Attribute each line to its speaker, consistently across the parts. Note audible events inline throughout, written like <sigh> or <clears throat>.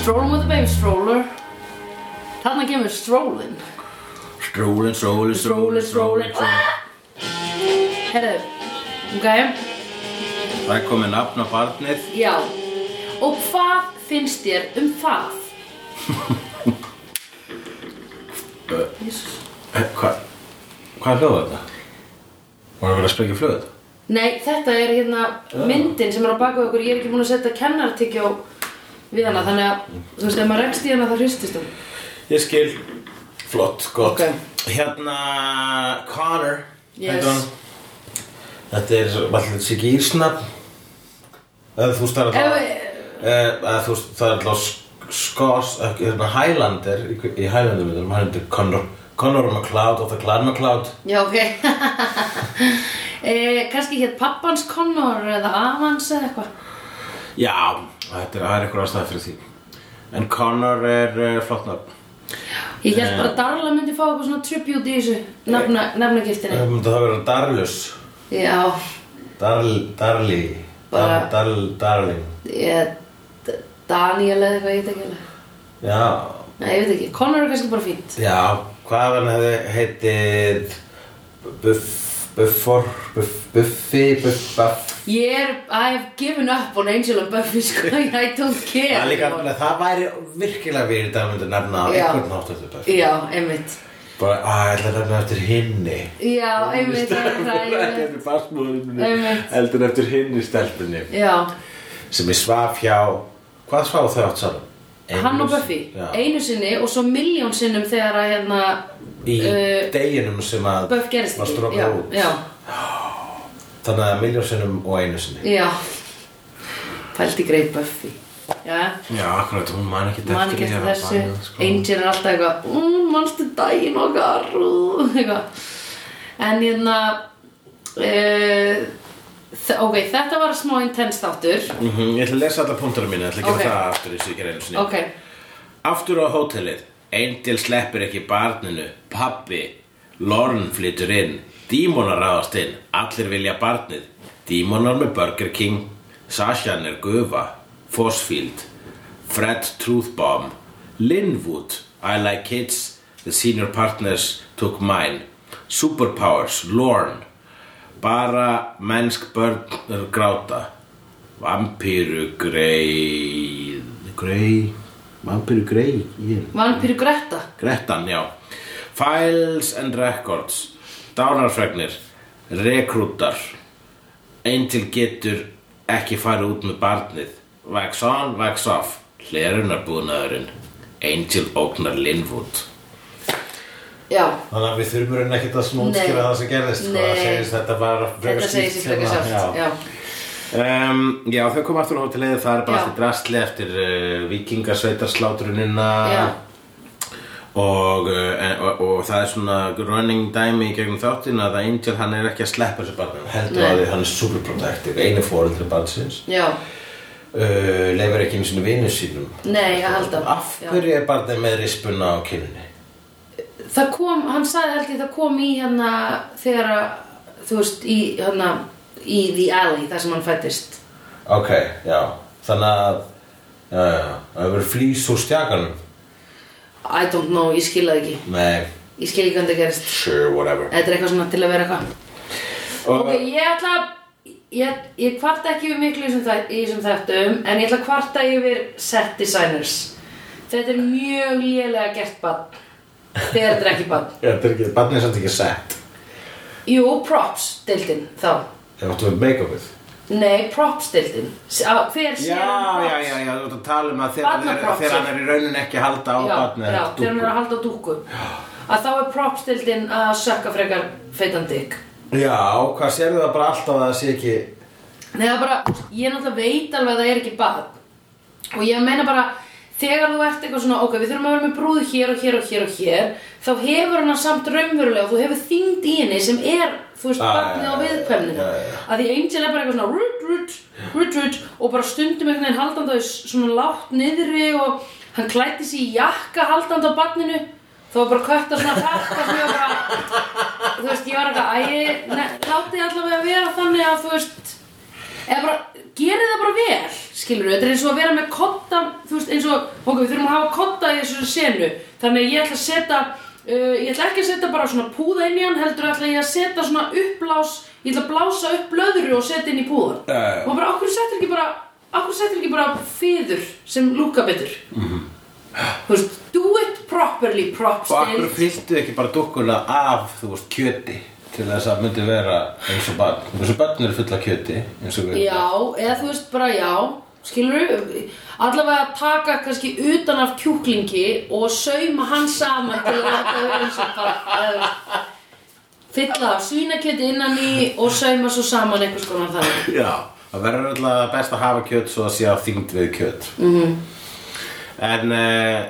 Speaker 1: Strolling with the baby stroller Þarna kemur strólin
Speaker 2: Strólin, strólin, strólin, strólin
Speaker 1: Ah! Herðu, ok,
Speaker 2: Það er komið nafn á barnið
Speaker 1: já Og hvað finnst þér um það? Jesús
Speaker 2: Eh, Hvað? Hvað hljóða þetta? Var það verið að sprengja flöðu þetta?
Speaker 1: Nei, þetta er hérna myndin sem er á baku okkur Ég er ekki múin að setja kennartyggjó við hana Þannig að, þú veist, ef maður rekst í hana þá hristist hún
Speaker 2: Ég skil Flott, gott
Speaker 1: Ok.
Speaker 2: Hérna, Connor
Speaker 1: Yes.
Speaker 2: heitir hann. Þetta er, allir þetta sé ekki írsnafn Eða þú veist það er
Speaker 1: Ef,
Speaker 2: alltaf Eh, að þú veist, það er alltaf Skos, ekki, hérna Highlander í, í Highlander myndum, hann heitir Connor Connor McCloud og það Clan McCloud
Speaker 1: Já, ok <laughs> e, Kannski hétt pappans Connor eða afans eða eitthvað
Speaker 2: Já, þetta er, það er einhver ástæð fyrir því En Connor er uh, flott nafn
Speaker 1: Ég held bara að Darla myndi fá eitthvað svona tribute í þessu nafna, nafnagiftinni
Speaker 2: Eh, Það myndi það vera Darlus
Speaker 1: Já,
Speaker 2: Darl, Darli Dar,
Speaker 1: Bara-
Speaker 2: Darl, Darling
Speaker 1: ég, D- Daniel eða eitthvað, ég veit ekki alveg
Speaker 2: Já,
Speaker 1: Nei, ég veit ekki, Connor er kannski bara fínt
Speaker 2: já, hvað hann hefði heitið Buff, Buffor, Buff, Buffi, Buff, Buff
Speaker 1: Ég er, I've given up on Angel and Buffy, <laughs> sko, I don't care
Speaker 2: Það, er líka, það væri virkilega við í dag myndi nefna á
Speaker 1: Já.
Speaker 2: einhvern hátt eftir Buff
Speaker 1: Já, einmitt
Speaker 2: Bara, að, ég ætla að nefna eftir hinni
Speaker 1: Já, einmitt, það er
Speaker 2: <laughs>
Speaker 1: það, ég veit
Speaker 2: basmóðurinni
Speaker 1: Einmitt.
Speaker 2: Eldur eftir hinni stelpunni
Speaker 1: Já,
Speaker 2: sem ég svaf hjá hvað svaf þau átt saman? Einu
Speaker 1: hann og
Speaker 2: sinni-
Speaker 1: Buffy,
Speaker 2: já,
Speaker 1: einu sinni og svo miljón sinnum þegar að hérna
Speaker 2: í
Speaker 1: eh,
Speaker 2: deginum sem að
Speaker 1: Buff gerist
Speaker 2: var
Speaker 1: ekki,
Speaker 2: strókað
Speaker 1: já,
Speaker 2: út
Speaker 1: já,
Speaker 2: þannig að miljónsinnum og einu sinni
Speaker 1: já Pældi greið Buffy Já,
Speaker 2: já, akkurat, hún man ekki
Speaker 1: man ekki eftir þessu
Speaker 2: sko.
Speaker 1: Angel er alltaf eitthvað mm, manstu daginn okkar <laughs> ú," eitthvað en hérna uh, ok, þetta var smá intens þáttur
Speaker 2: mm ég ætla að lesa alla punktunum mínu ég ætla að
Speaker 1: Ok.
Speaker 2: gera það aftur eins og ég gera einu sinni
Speaker 1: ok,
Speaker 2: Aftur á hótelið, Angel sleppir ekki barninu, pappi, Lorne flytur inn, dímonar ráðast inn, allir vilja barnið, dímonar með Burger King, Sashan er gufa, Fosfield, Fred Truthbomb, Linwood, I like kids, the senior partners took mine, Superpowers, Lorne, bara mennsk börn er gráta, vampíru grei, grei, vampíru grei, ég
Speaker 1: vampíru Greta
Speaker 2: Grettan, já Files and Records Dánarfregnir Rekrútar Eintil getur ekki farið út með barnið Wax on, wax off Hlerunarbúnaðurinn Angel ógnar Linwood
Speaker 1: já,
Speaker 2: Þannig að við þurfum reyna ekkert að
Speaker 1: Nei.
Speaker 2: smótskýra það sem gerðist sko. Það
Speaker 1: Nei.
Speaker 2: segist þetta var
Speaker 1: þetta segir sér
Speaker 2: hérna,
Speaker 1: frekar sátt já.
Speaker 2: Um, já, þau kom aftur á hótelið, það er bara
Speaker 1: Já.
Speaker 2: allt í drastli eftir uh, vikingasveitarslátrunina
Speaker 1: Já.
Speaker 2: og, uh, en- og, og það er svona running dæmi í gegnum þáttin að Angel hann er ekki að sleppa þessu barnum heldur
Speaker 1: Nei.
Speaker 2: að því hann er superprotective, einu fóreldri barnsins
Speaker 1: já,
Speaker 2: uh, leifur ekki einu sinni vinnu sínum
Speaker 1: nei, að halda
Speaker 2: Af hverju er barnið með rispuna á kynunni?
Speaker 1: Já. það kom, hann sagði held ég það kom í hérna þegar að þú veist, í hérna í The Alley, þar sem hann fættist
Speaker 2: Ok, já, þannig að já, já, það hefur verið flýs úr stjakanum
Speaker 1: I don't know, ég skil það ekki
Speaker 2: Nei,
Speaker 1: ég skil ekki hvernig það gerist
Speaker 2: sure, whatever
Speaker 1: Þetta er eitthvað svona til að vera eitthvað
Speaker 2: Og-
Speaker 1: Ok, ég ætla að Ég, ég kvarta ekki yfir miklu í þessum þæ- í þessum þættum En ég ætla að kvarta yfir set designers Þetta er mjög lélega gert bann Þegar þetta er ekki bann
Speaker 2: Já, þetta er ekki, barnið er samt ekki sett
Speaker 1: Jú, props deildin þá
Speaker 2: Það áttu með make-upið
Speaker 1: Nei, props deildin S- á- Hver sér
Speaker 2: Já, já, já, já, þú ert að tala um að þegar hann er,
Speaker 1: Barnapropsið.
Speaker 2: þegar hann er í raunin ekki að halda á
Speaker 1: já,
Speaker 2: barnið
Speaker 1: já, þegar
Speaker 2: heldur
Speaker 1: hann er að
Speaker 2: dúkku.
Speaker 1: halda á dúku Að þá er props deildin að sökka frekar feitan dykk
Speaker 2: Já, hvað sérðu það bara alltaf að það sé ekki
Speaker 1: Nei það er bara, ég náttúrulega veit alveg að það er ekki bad Og ég meina bara, þegar þú ert eitthvað svona, ok, við þurfum að vera með brúð hér og hér og hér og hér Þá hefur hana samt raunverulega, þú hefur þyngd í henni sem er, þú veist,
Speaker 2: Ah,
Speaker 1: barnið á
Speaker 2: já, já,
Speaker 1: viðkvæmninu
Speaker 2: já, já, já.
Speaker 1: Að því Angel er bara eitthvað svona rut, rut, rut, rut Og bara stundum einhvern veginn haldandi á s- svona látt niðri Og hann klætti sig í jakka haldandi á barninu Þá var bara kött að svona þetta sem ég var bara, þú veist, ég var eitthvað, æ, ne- látið allavega vera þannig að, þú veist, Eða bara, gerið það bara vel skilur þetta er eins og að vera með kotta þú veist eins og, ok, við þurfum að hafa kotta í þessu senu þannig að ég ætla að setja uh, ég ætla ekki að setja bara svona púða inn í hann heldur ætla ég að setja svona uppblás ég ætla að blása upp blöðru og setja inn í púðan
Speaker 2: Já, já.
Speaker 1: og bara, okkur settir ekki bara okkur settir ekki bara fýður sem lúka betur þú veist, do it properly props
Speaker 2: Mhm. Og akkur
Speaker 1: deild.
Speaker 2: fylltu ekki bara dukkuna af, þú veist, kjöti til þess að myndi vera eins og barn eins og barn eru fulla af kjöti eins og við
Speaker 1: Já, eða þú veist bara já Skilur Allavega taka kannski utan af kjúklingi Og sauma hann saman Til að láta það vera eins og bara eða, Fylla af svínakjöti innan í Og sauma svo saman einhvers konar þannig
Speaker 2: Já, það verður alltaf best að hafa kjöt svo að sé að þyngd við kjöt mm
Speaker 1: Mhm.
Speaker 2: -hmm. En, uh,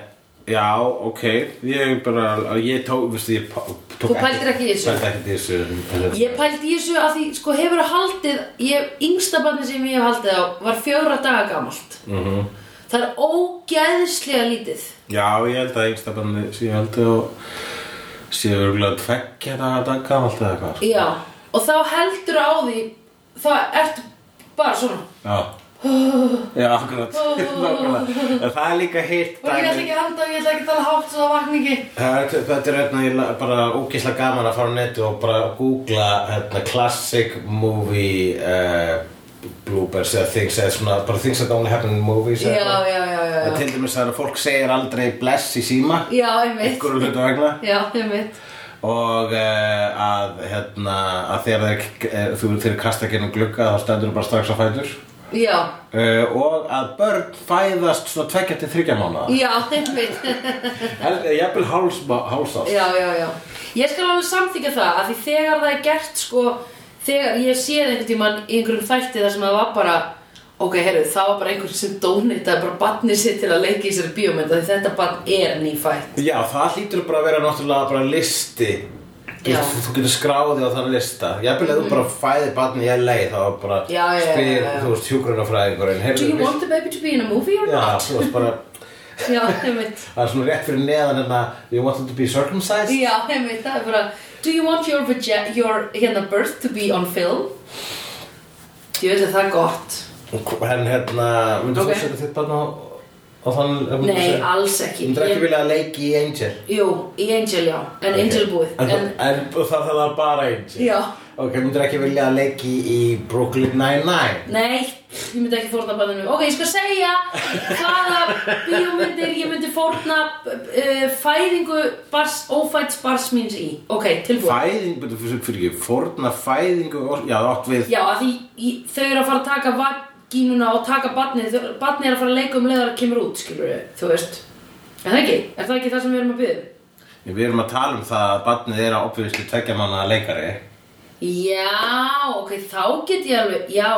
Speaker 2: já, ok Ég bara, ég tók, veistu, ég pá- tók
Speaker 1: Þú pældir ekki í þessu?
Speaker 2: Pældi ekki í þessu
Speaker 1: Ég pældi í þessu að því sko hefur haldið Ég, yngsta barni sem ég hef haldið á Var fjóra daga gamalt mm -hmm. Það er ógeðslega lítið
Speaker 2: Já, ég held að yngsta barni sé ég held að sé örgulega tveggja daga daga gamalt eða eitthvað sko.
Speaker 1: Já, og þá heldur á því Það ert bara svona <gasps>
Speaker 2: Já Já, akkurat <laughs> Nákvæmlega. En það er líka hitt
Speaker 1: Og ég ætla
Speaker 2: dæmi
Speaker 1: ekki að halda og ég ætla ekki að tala hátt svo það vakna ekki.
Speaker 2: Það er- Þetta er hérna ég- bara ógislega gaman að fara á netu og bara googla hérna, classic movie uh, bloopers eða things eða svona bara things that only happen in movies eða
Speaker 1: Já,
Speaker 2: eitthvað.
Speaker 1: já, já, já,
Speaker 2: En
Speaker 1: já.
Speaker 2: Til dæmis það er að fólk segir aldrei bless í síma
Speaker 1: Já, einmitt.
Speaker 2: einhverju hlutu vegna
Speaker 1: Já, einmitt.
Speaker 2: og uh, að hérna að þegar þeir, eh, þú þeir kasta ekki ennum glugga þá stendur þú bara strax á fætur
Speaker 1: Já,
Speaker 2: Uh, og að börn fæðast svona tvekja til þryggja mánuða
Speaker 1: já, einmitt.
Speaker 2: eh, jafnvel hálsast
Speaker 1: Já, já, já. Ég skal alveg samþykja það að því þegar það er gert sko, þegar ég séð einhvern tímann í einhverjum þætti þar sem það var bara ok, heyrðu, það var bara einhver sem dónitaði bara barnið sitt til að leika í sér bíómynd af því þetta barn er nýfætt.
Speaker 2: já, það hlýtur bara að vera náttúrulega bara listi þú,
Speaker 1: Já. Mhm.
Speaker 2: þú getur skráði á þann lista jafnvel að þú bara fæðir barn í LA þá bara
Speaker 1: Já, já, já,
Speaker 2: spyr,
Speaker 1: já, já.
Speaker 2: þú veist, hjúgrunafræðingurinn
Speaker 1: Do you want the baby to be in a movie or
Speaker 2: já,
Speaker 1: not?
Speaker 2: þú veist bara
Speaker 1: Já, einmitt.
Speaker 2: það er svona rétt fyrir neðan en að you want them to be circumcised
Speaker 1: Já, einmitt, það er bara Do you want your, vagi- your hérna, birth to be on film? Ég veit að það er gott
Speaker 2: en hérna, myndir
Speaker 1: Ok.
Speaker 2: þú setja þitt barn á, á þann myndir
Speaker 1: Nei,
Speaker 2: þú
Speaker 1: alls ekki
Speaker 2: myndir ekki
Speaker 1: Ég-
Speaker 2: vilja að leiki í Angel
Speaker 1: Jú, í Angel, já, en Angel búið
Speaker 2: En, en,
Speaker 1: En,
Speaker 2: það það var bara eins
Speaker 1: Já.
Speaker 2: Ok, myndir ekki vilja að leiki í Brooklyn Nine-Nine
Speaker 1: nei, ég myndi ekki fórna bæðinu Ok, ég skal segja hvaða bíómyndir ég myndi fórna uh, fæðingu bars, ófætt spars míns í Ok, tilbúið
Speaker 2: Fæðing, betur fyrir, fyrir ekki, forna fæðingu og- Já, það átt við
Speaker 1: Já, að því í, þau eru að fara að taka vagínuna og taka barnið, þau, barnið er að fara að leika um leiðar að kemur út, skilur við, þú veist. Er það ekki? Er það ekki það sem við erum að um? byggja?
Speaker 2: Við erum að tala um það að barnið er að oppiðislu tveggja manna leikari
Speaker 1: Já, ok, þá get ég alveg, já,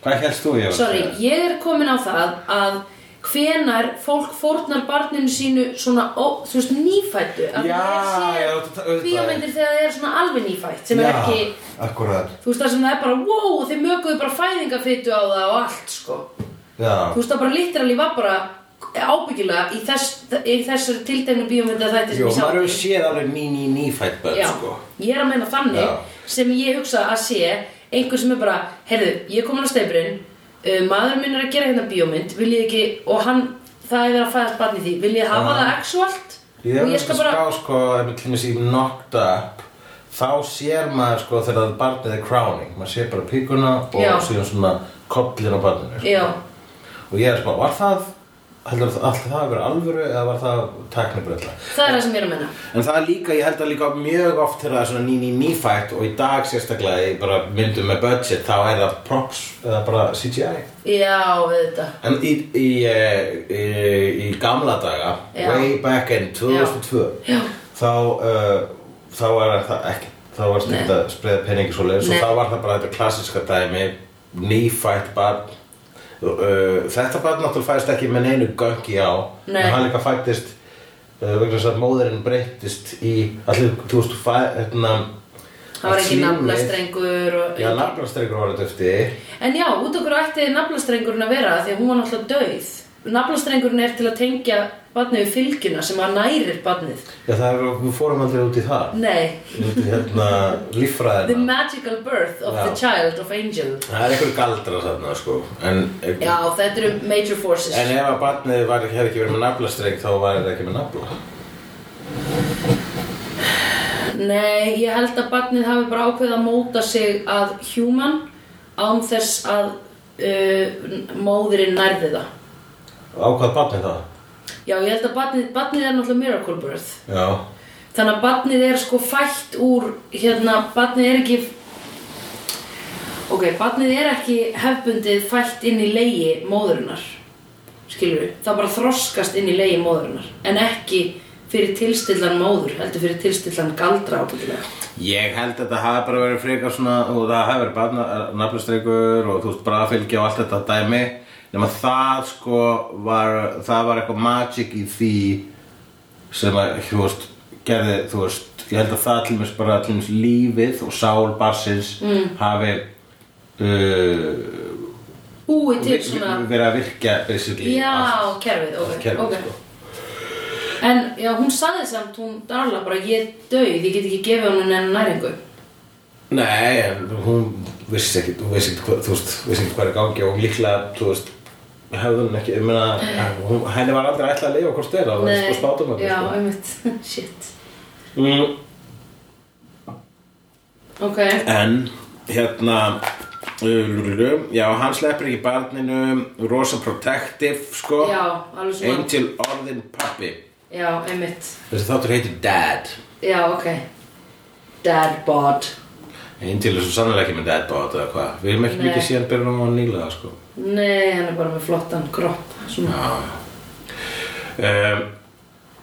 Speaker 2: Hvað helst þú ég var að
Speaker 1: sorry,
Speaker 2: segja?
Speaker 1: ég er komin á það að hvenar fólk fórnar barninu sínu svona, ó, þú veist, nýfættu. Af því
Speaker 2: Já,
Speaker 1: ég sé
Speaker 2: já, þetta- auðvitað.
Speaker 1: Bíómyndir þegar það er svona alveg nýfætt, sem er ekki,
Speaker 2: Já, akkurat
Speaker 1: þú veist, það sem það er bara, wow, þeir möguðu bara fæðingafytu á það og allt, sko.
Speaker 2: Já,
Speaker 1: þú veist það bara literally var bara ábyggilega í, þess, í þessar tiltegnu bíómynda þætti sem
Speaker 2: jú,
Speaker 1: ég sá
Speaker 2: maður hefur séð alveg ný, ný, nýfætt börn,
Speaker 1: Já,
Speaker 2: sko
Speaker 1: ég er að meina þannig
Speaker 2: Já.
Speaker 1: sem ég hugsa að sé einhver sem er bara, heyrðu, ég er komin á steifurinn uh, maður minn er að gera hérna bíómynd vil ég ekki, og hann það er verið að fæðast barn í því, vil ég hafa
Speaker 2: Já.
Speaker 1: það actualt
Speaker 2: Ég hef
Speaker 1: og ég
Speaker 2: ekki
Speaker 1: skal bara,
Speaker 2: skrá, sko, ef við kynum sér knocked up þá sér maður, sko, þegar barnið er crowning maður sér bara píkuna og
Speaker 1: Já.
Speaker 2: síðan svona kollin á barninu sko.
Speaker 1: já,
Speaker 2: og ég er sko, var það heldur það alltaf það að vera alvöru eða var það teknibrella
Speaker 1: það er það sem ég er að meina
Speaker 2: en það er líka, ég held að líka mjög oft þegar það er svona ný, ný, nýfætt og í dag sérstaklega í bara myndum með budget þá er það props eða bara CGI
Speaker 1: já, við þetta
Speaker 2: en í, í, eh, í, í, í gamla daga
Speaker 1: Já.
Speaker 2: way back in 2002
Speaker 1: Já.
Speaker 2: þá uh, þá var það ekki þá var stíkt að spreða peningi svo leiðis
Speaker 1: Nei.
Speaker 2: og þá var það bara þetta klassiska dæmi nýfætt barn uh, þetta barn náttúrulega fæðist ekki með neinu göngi á
Speaker 1: Nei.
Speaker 2: en hann líka fættist uh, vegna þess að móðurinn breyttist í allir, þú veist, þú fæ hérna,
Speaker 1: það var ekki
Speaker 2: slímið-
Speaker 1: naflastrengur og...
Speaker 2: Já, nafnastrengur var þetta eftir
Speaker 1: en já, út okkur ætti naflastrengurinn að vera af því að hún var náttúrulega döið naflastrengurinn er til að tengja barnið við fylgjuna sem að nærir barnið.
Speaker 3: Já, það er, við fórum aldrei út í það.
Speaker 1: Nei,
Speaker 3: Út í hérna
Speaker 1: the
Speaker 3: líffræðina.
Speaker 1: magical birth of
Speaker 3: Já.
Speaker 1: the child of angel.
Speaker 2: Það er einhver galdra þarna sko En,
Speaker 1: Já, þetta eru major forces.
Speaker 2: en ef að barnið var, hefði ekki verið með naflastreng þá var þetta ekki með nafla
Speaker 1: Nei, ég held að barnið hafi bara ákveðið að móta sig að human án þess að uh, móðurinn nærði það.
Speaker 3: Ákvað barnið það.
Speaker 1: Já, ég held að barnið, barnið er náttúrulega miracle birth.
Speaker 3: Já.
Speaker 1: Þannig að barnið er sko fætt úr, hérna, barnið er ekki, ok, barnið er ekki hefbundið fætt inn í leiði móðurinnar, skilur við. Það bara þroskast inn í leiði móðurinnar, en ekki fyrir tilstillan móður, heldur fyrir tilstillan galdra ábyggilega.
Speaker 2: Ég held að þetta hafi bara verið frekar svona og það hafi verið bara nafnastreikur og þú veist brafylgja og allt þetta dæmi nema það sko var það var eitthvað magic í því sem að þú veist gerði þú veist ég held að það til mér bara til mér lífið og sál barsins mm. hafi uh,
Speaker 1: Búið til
Speaker 2: vi-
Speaker 1: svona...
Speaker 2: vi- verið að virkja basically
Speaker 1: Já,
Speaker 2: allt.
Speaker 1: kerfið, ok,
Speaker 2: kerfið,
Speaker 1: ok.
Speaker 2: sko.
Speaker 1: En já, hún sagði samt, hún Darla bara, ég döið, ég get ekki gefið hún enn næringu.
Speaker 2: Nei, en hún vissi ekki, hún vissi ekki, hvað- þú veist, vissi ekki hvað er í gangi og líklega, þú veist, hefði hún ekki, ég meina, hún, henni var aldrei ætlað að lifa hvort þeirra, það var sko spátum að
Speaker 1: já, einmitt, <laughs> shit.
Speaker 2: Mm,
Speaker 1: Ok,
Speaker 2: en, hérna, uh, já, hann sleppur ekki barninu, rosa protective, sko,
Speaker 1: já, alveg svona,
Speaker 2: Angel orðin pappi,
Speaker 1: já, einmitt,
Speaker 2: þessi þáttur heitir Dad,
Speaker 1: já, ok. Dad bod.
Speaker 2: Angel er svo sannlega ekki með Dad bát eða hvað, við erum ekki
Speaker 1: Nei.
Speaker 2: mikið síðan byrjunum á nýlega, sko.
Speaker 1: Nei, hann er bara með flottan kropp, svona.
Speaker 2: um,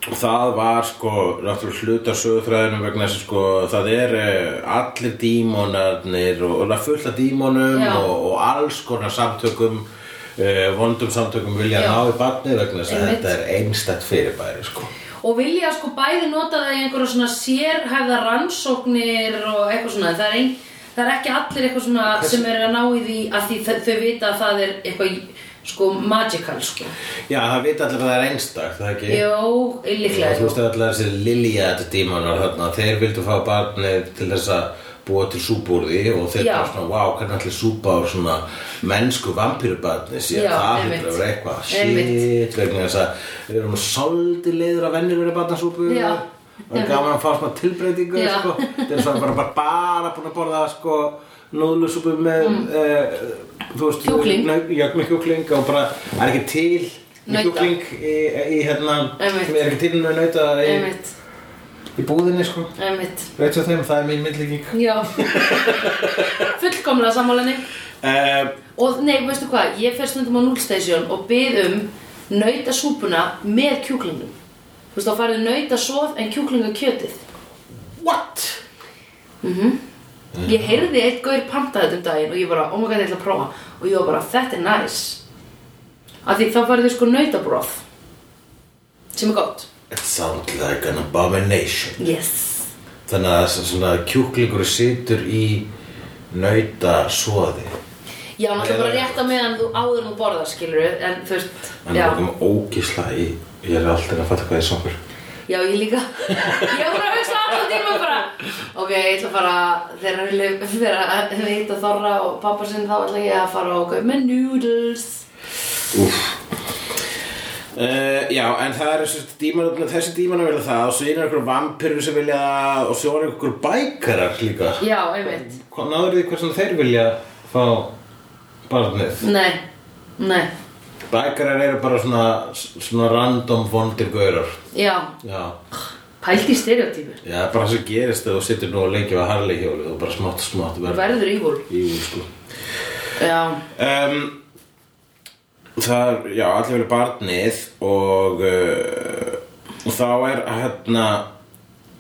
Speaker 2: það var sko náttúrulega hluta sögurþræðinum vegna þess að sko það er eh, allir dímonarnir og, og það er fullt af dímonum
Speaker 1: Já.
Speaker 2: og, og alls konar samtökum uh, vondum samtökum vilja
Speaker 1: Já.
Speaker 2: ná í barni vegna þess að
Speaker 1: Einmitt.
Speaker 2: þetta er einstætt fyrirbæri sko
Speaker 1: Og vilja sko bæði nota það í einhverja svona sérhæfða rannsóknir og eitthvað svona, það er, ein, það er ekki allir eitthvað svona sem er að ná í því að því þau, þau vita að það er eitthvað sko magical sko.
Speaker 2: Já, það vita allir að það er einstakt, það ekki?
Speaker 1: Jó,
Speaker 2: Já,
Speaker 1: líklega sko.
Speaker 2: Þú
Speaker 1: jú.
Speaker 2: veist allar þessi Liliad dímonar þarna, þeir vildu fá barnið til þess að búa til súbúrði og þeir
Speaker 1: Já.
Speaker 2: bara svona, vá, hvernig allir súpa á svona mennsku vampírubarni síðan
Speaker 1: Já,
Speaker 2: það
Speaker 1: einmitt.
Speaker 2: hefur að vera eitthvað
Speaker 1: Einmitt.
Speaker 2: shit, vegna þess að við erum svolítið leiður að vennir vera barnasúpu
Speaker 1: Já.
Speaker 2: og er gaman að fá svona tilbreytingu
Speaker 1: Já.
Speaker 2: sko. þeir eru svona bara, bara, bara búin að borða sko, núðlusúpu með mm. þú veist,
Speaker 1: Kjúkling.
Speaker 2: nau- já, með kjúkling og bara, það er ekki til með
Speaker 1: Nauta.
Speaker 2: kjúkling í, í hérna,
Speaker 1: Einmitt.
Speaker 2: sem er ekki til með nauta í,
Speaker 1: Einmitt,
Speaker 2: í búðinni sko
Speaker 1: einmitt.
Speaker 2: veit svo þeim, það er mín myndlíking
Speaker 1: Já. <laughs> Fullkomlega sammálanni.
Speaker 2: um,
Speaker 1: Og nei, veistu hvað, ég fer stundum á núlstation og bið um nautasúpuna með kjúklingum. Þú veist, þá færðu nautasóð en kjúklingakjötið.
Speaker 2: what?
Speaker 1: Ég heyrði eitt gaur panta þetta um daginn og ég bara, oh my god, ég ætla að prófa. Og ég var bara, þetta er næs. Af því þá færðu sko nautabróð. Sem er gott.
Speaker 2: it sounds like an abomination
Speaker 1: Yes.
Speaker 2: þannig að þessi svona kjúklingur situr í nauta svoði
Speaker 1: Já, náttúrulega bara
Speaker 2: Eða-
Speaker 1: rétt að meðan þú áður en þú borðar, skilur en þú veist,
Speaker 2: hann
Speaker 1: já.
Speaker 2: er okkur ógísla í ég er alltaf að fatta hvað ég songur
Speaker 1: Já, ég líka. Ég var bara að hugsa alltaf tíma bara. Ok, ég ætla að fara, þegar hann lif- þegar við hitta Þorra og pappa sinn, þá ætla ég að fara og kaupa með noodles.
Speaker 2: Uh, já, en það eru þessi dímanar, þessi dímanar vilja það og svo einu einhverjum vampirur sem vilja það og svo eru einhverjum bækarar líka.
Speaker 1: Já, einmitt.
Speaker 2: Hvað náður þið hversum þeir vilja fá barnið?
Speaker 1: Nei, nei,
Speaker 2: Bækarar eru bara svona, svona random vondir gaurar.
Speaker 1: já.
Speaker 2: Já,
Speaker 1: Pælt í stereotypu.
Speaker 2: já bara það sem gerist þegar þú sittur nú og leikir við harli hjólið og bara smátt smátt
Speaker 1: Þú
Speaker 2: verður
Speaker 1: verður ívul.
Speaker 2: í úr sko.
Speaker 1: Já,
Speaker 2: Um, það er, já, allir vilja barnið og, uh, og þá er hérna,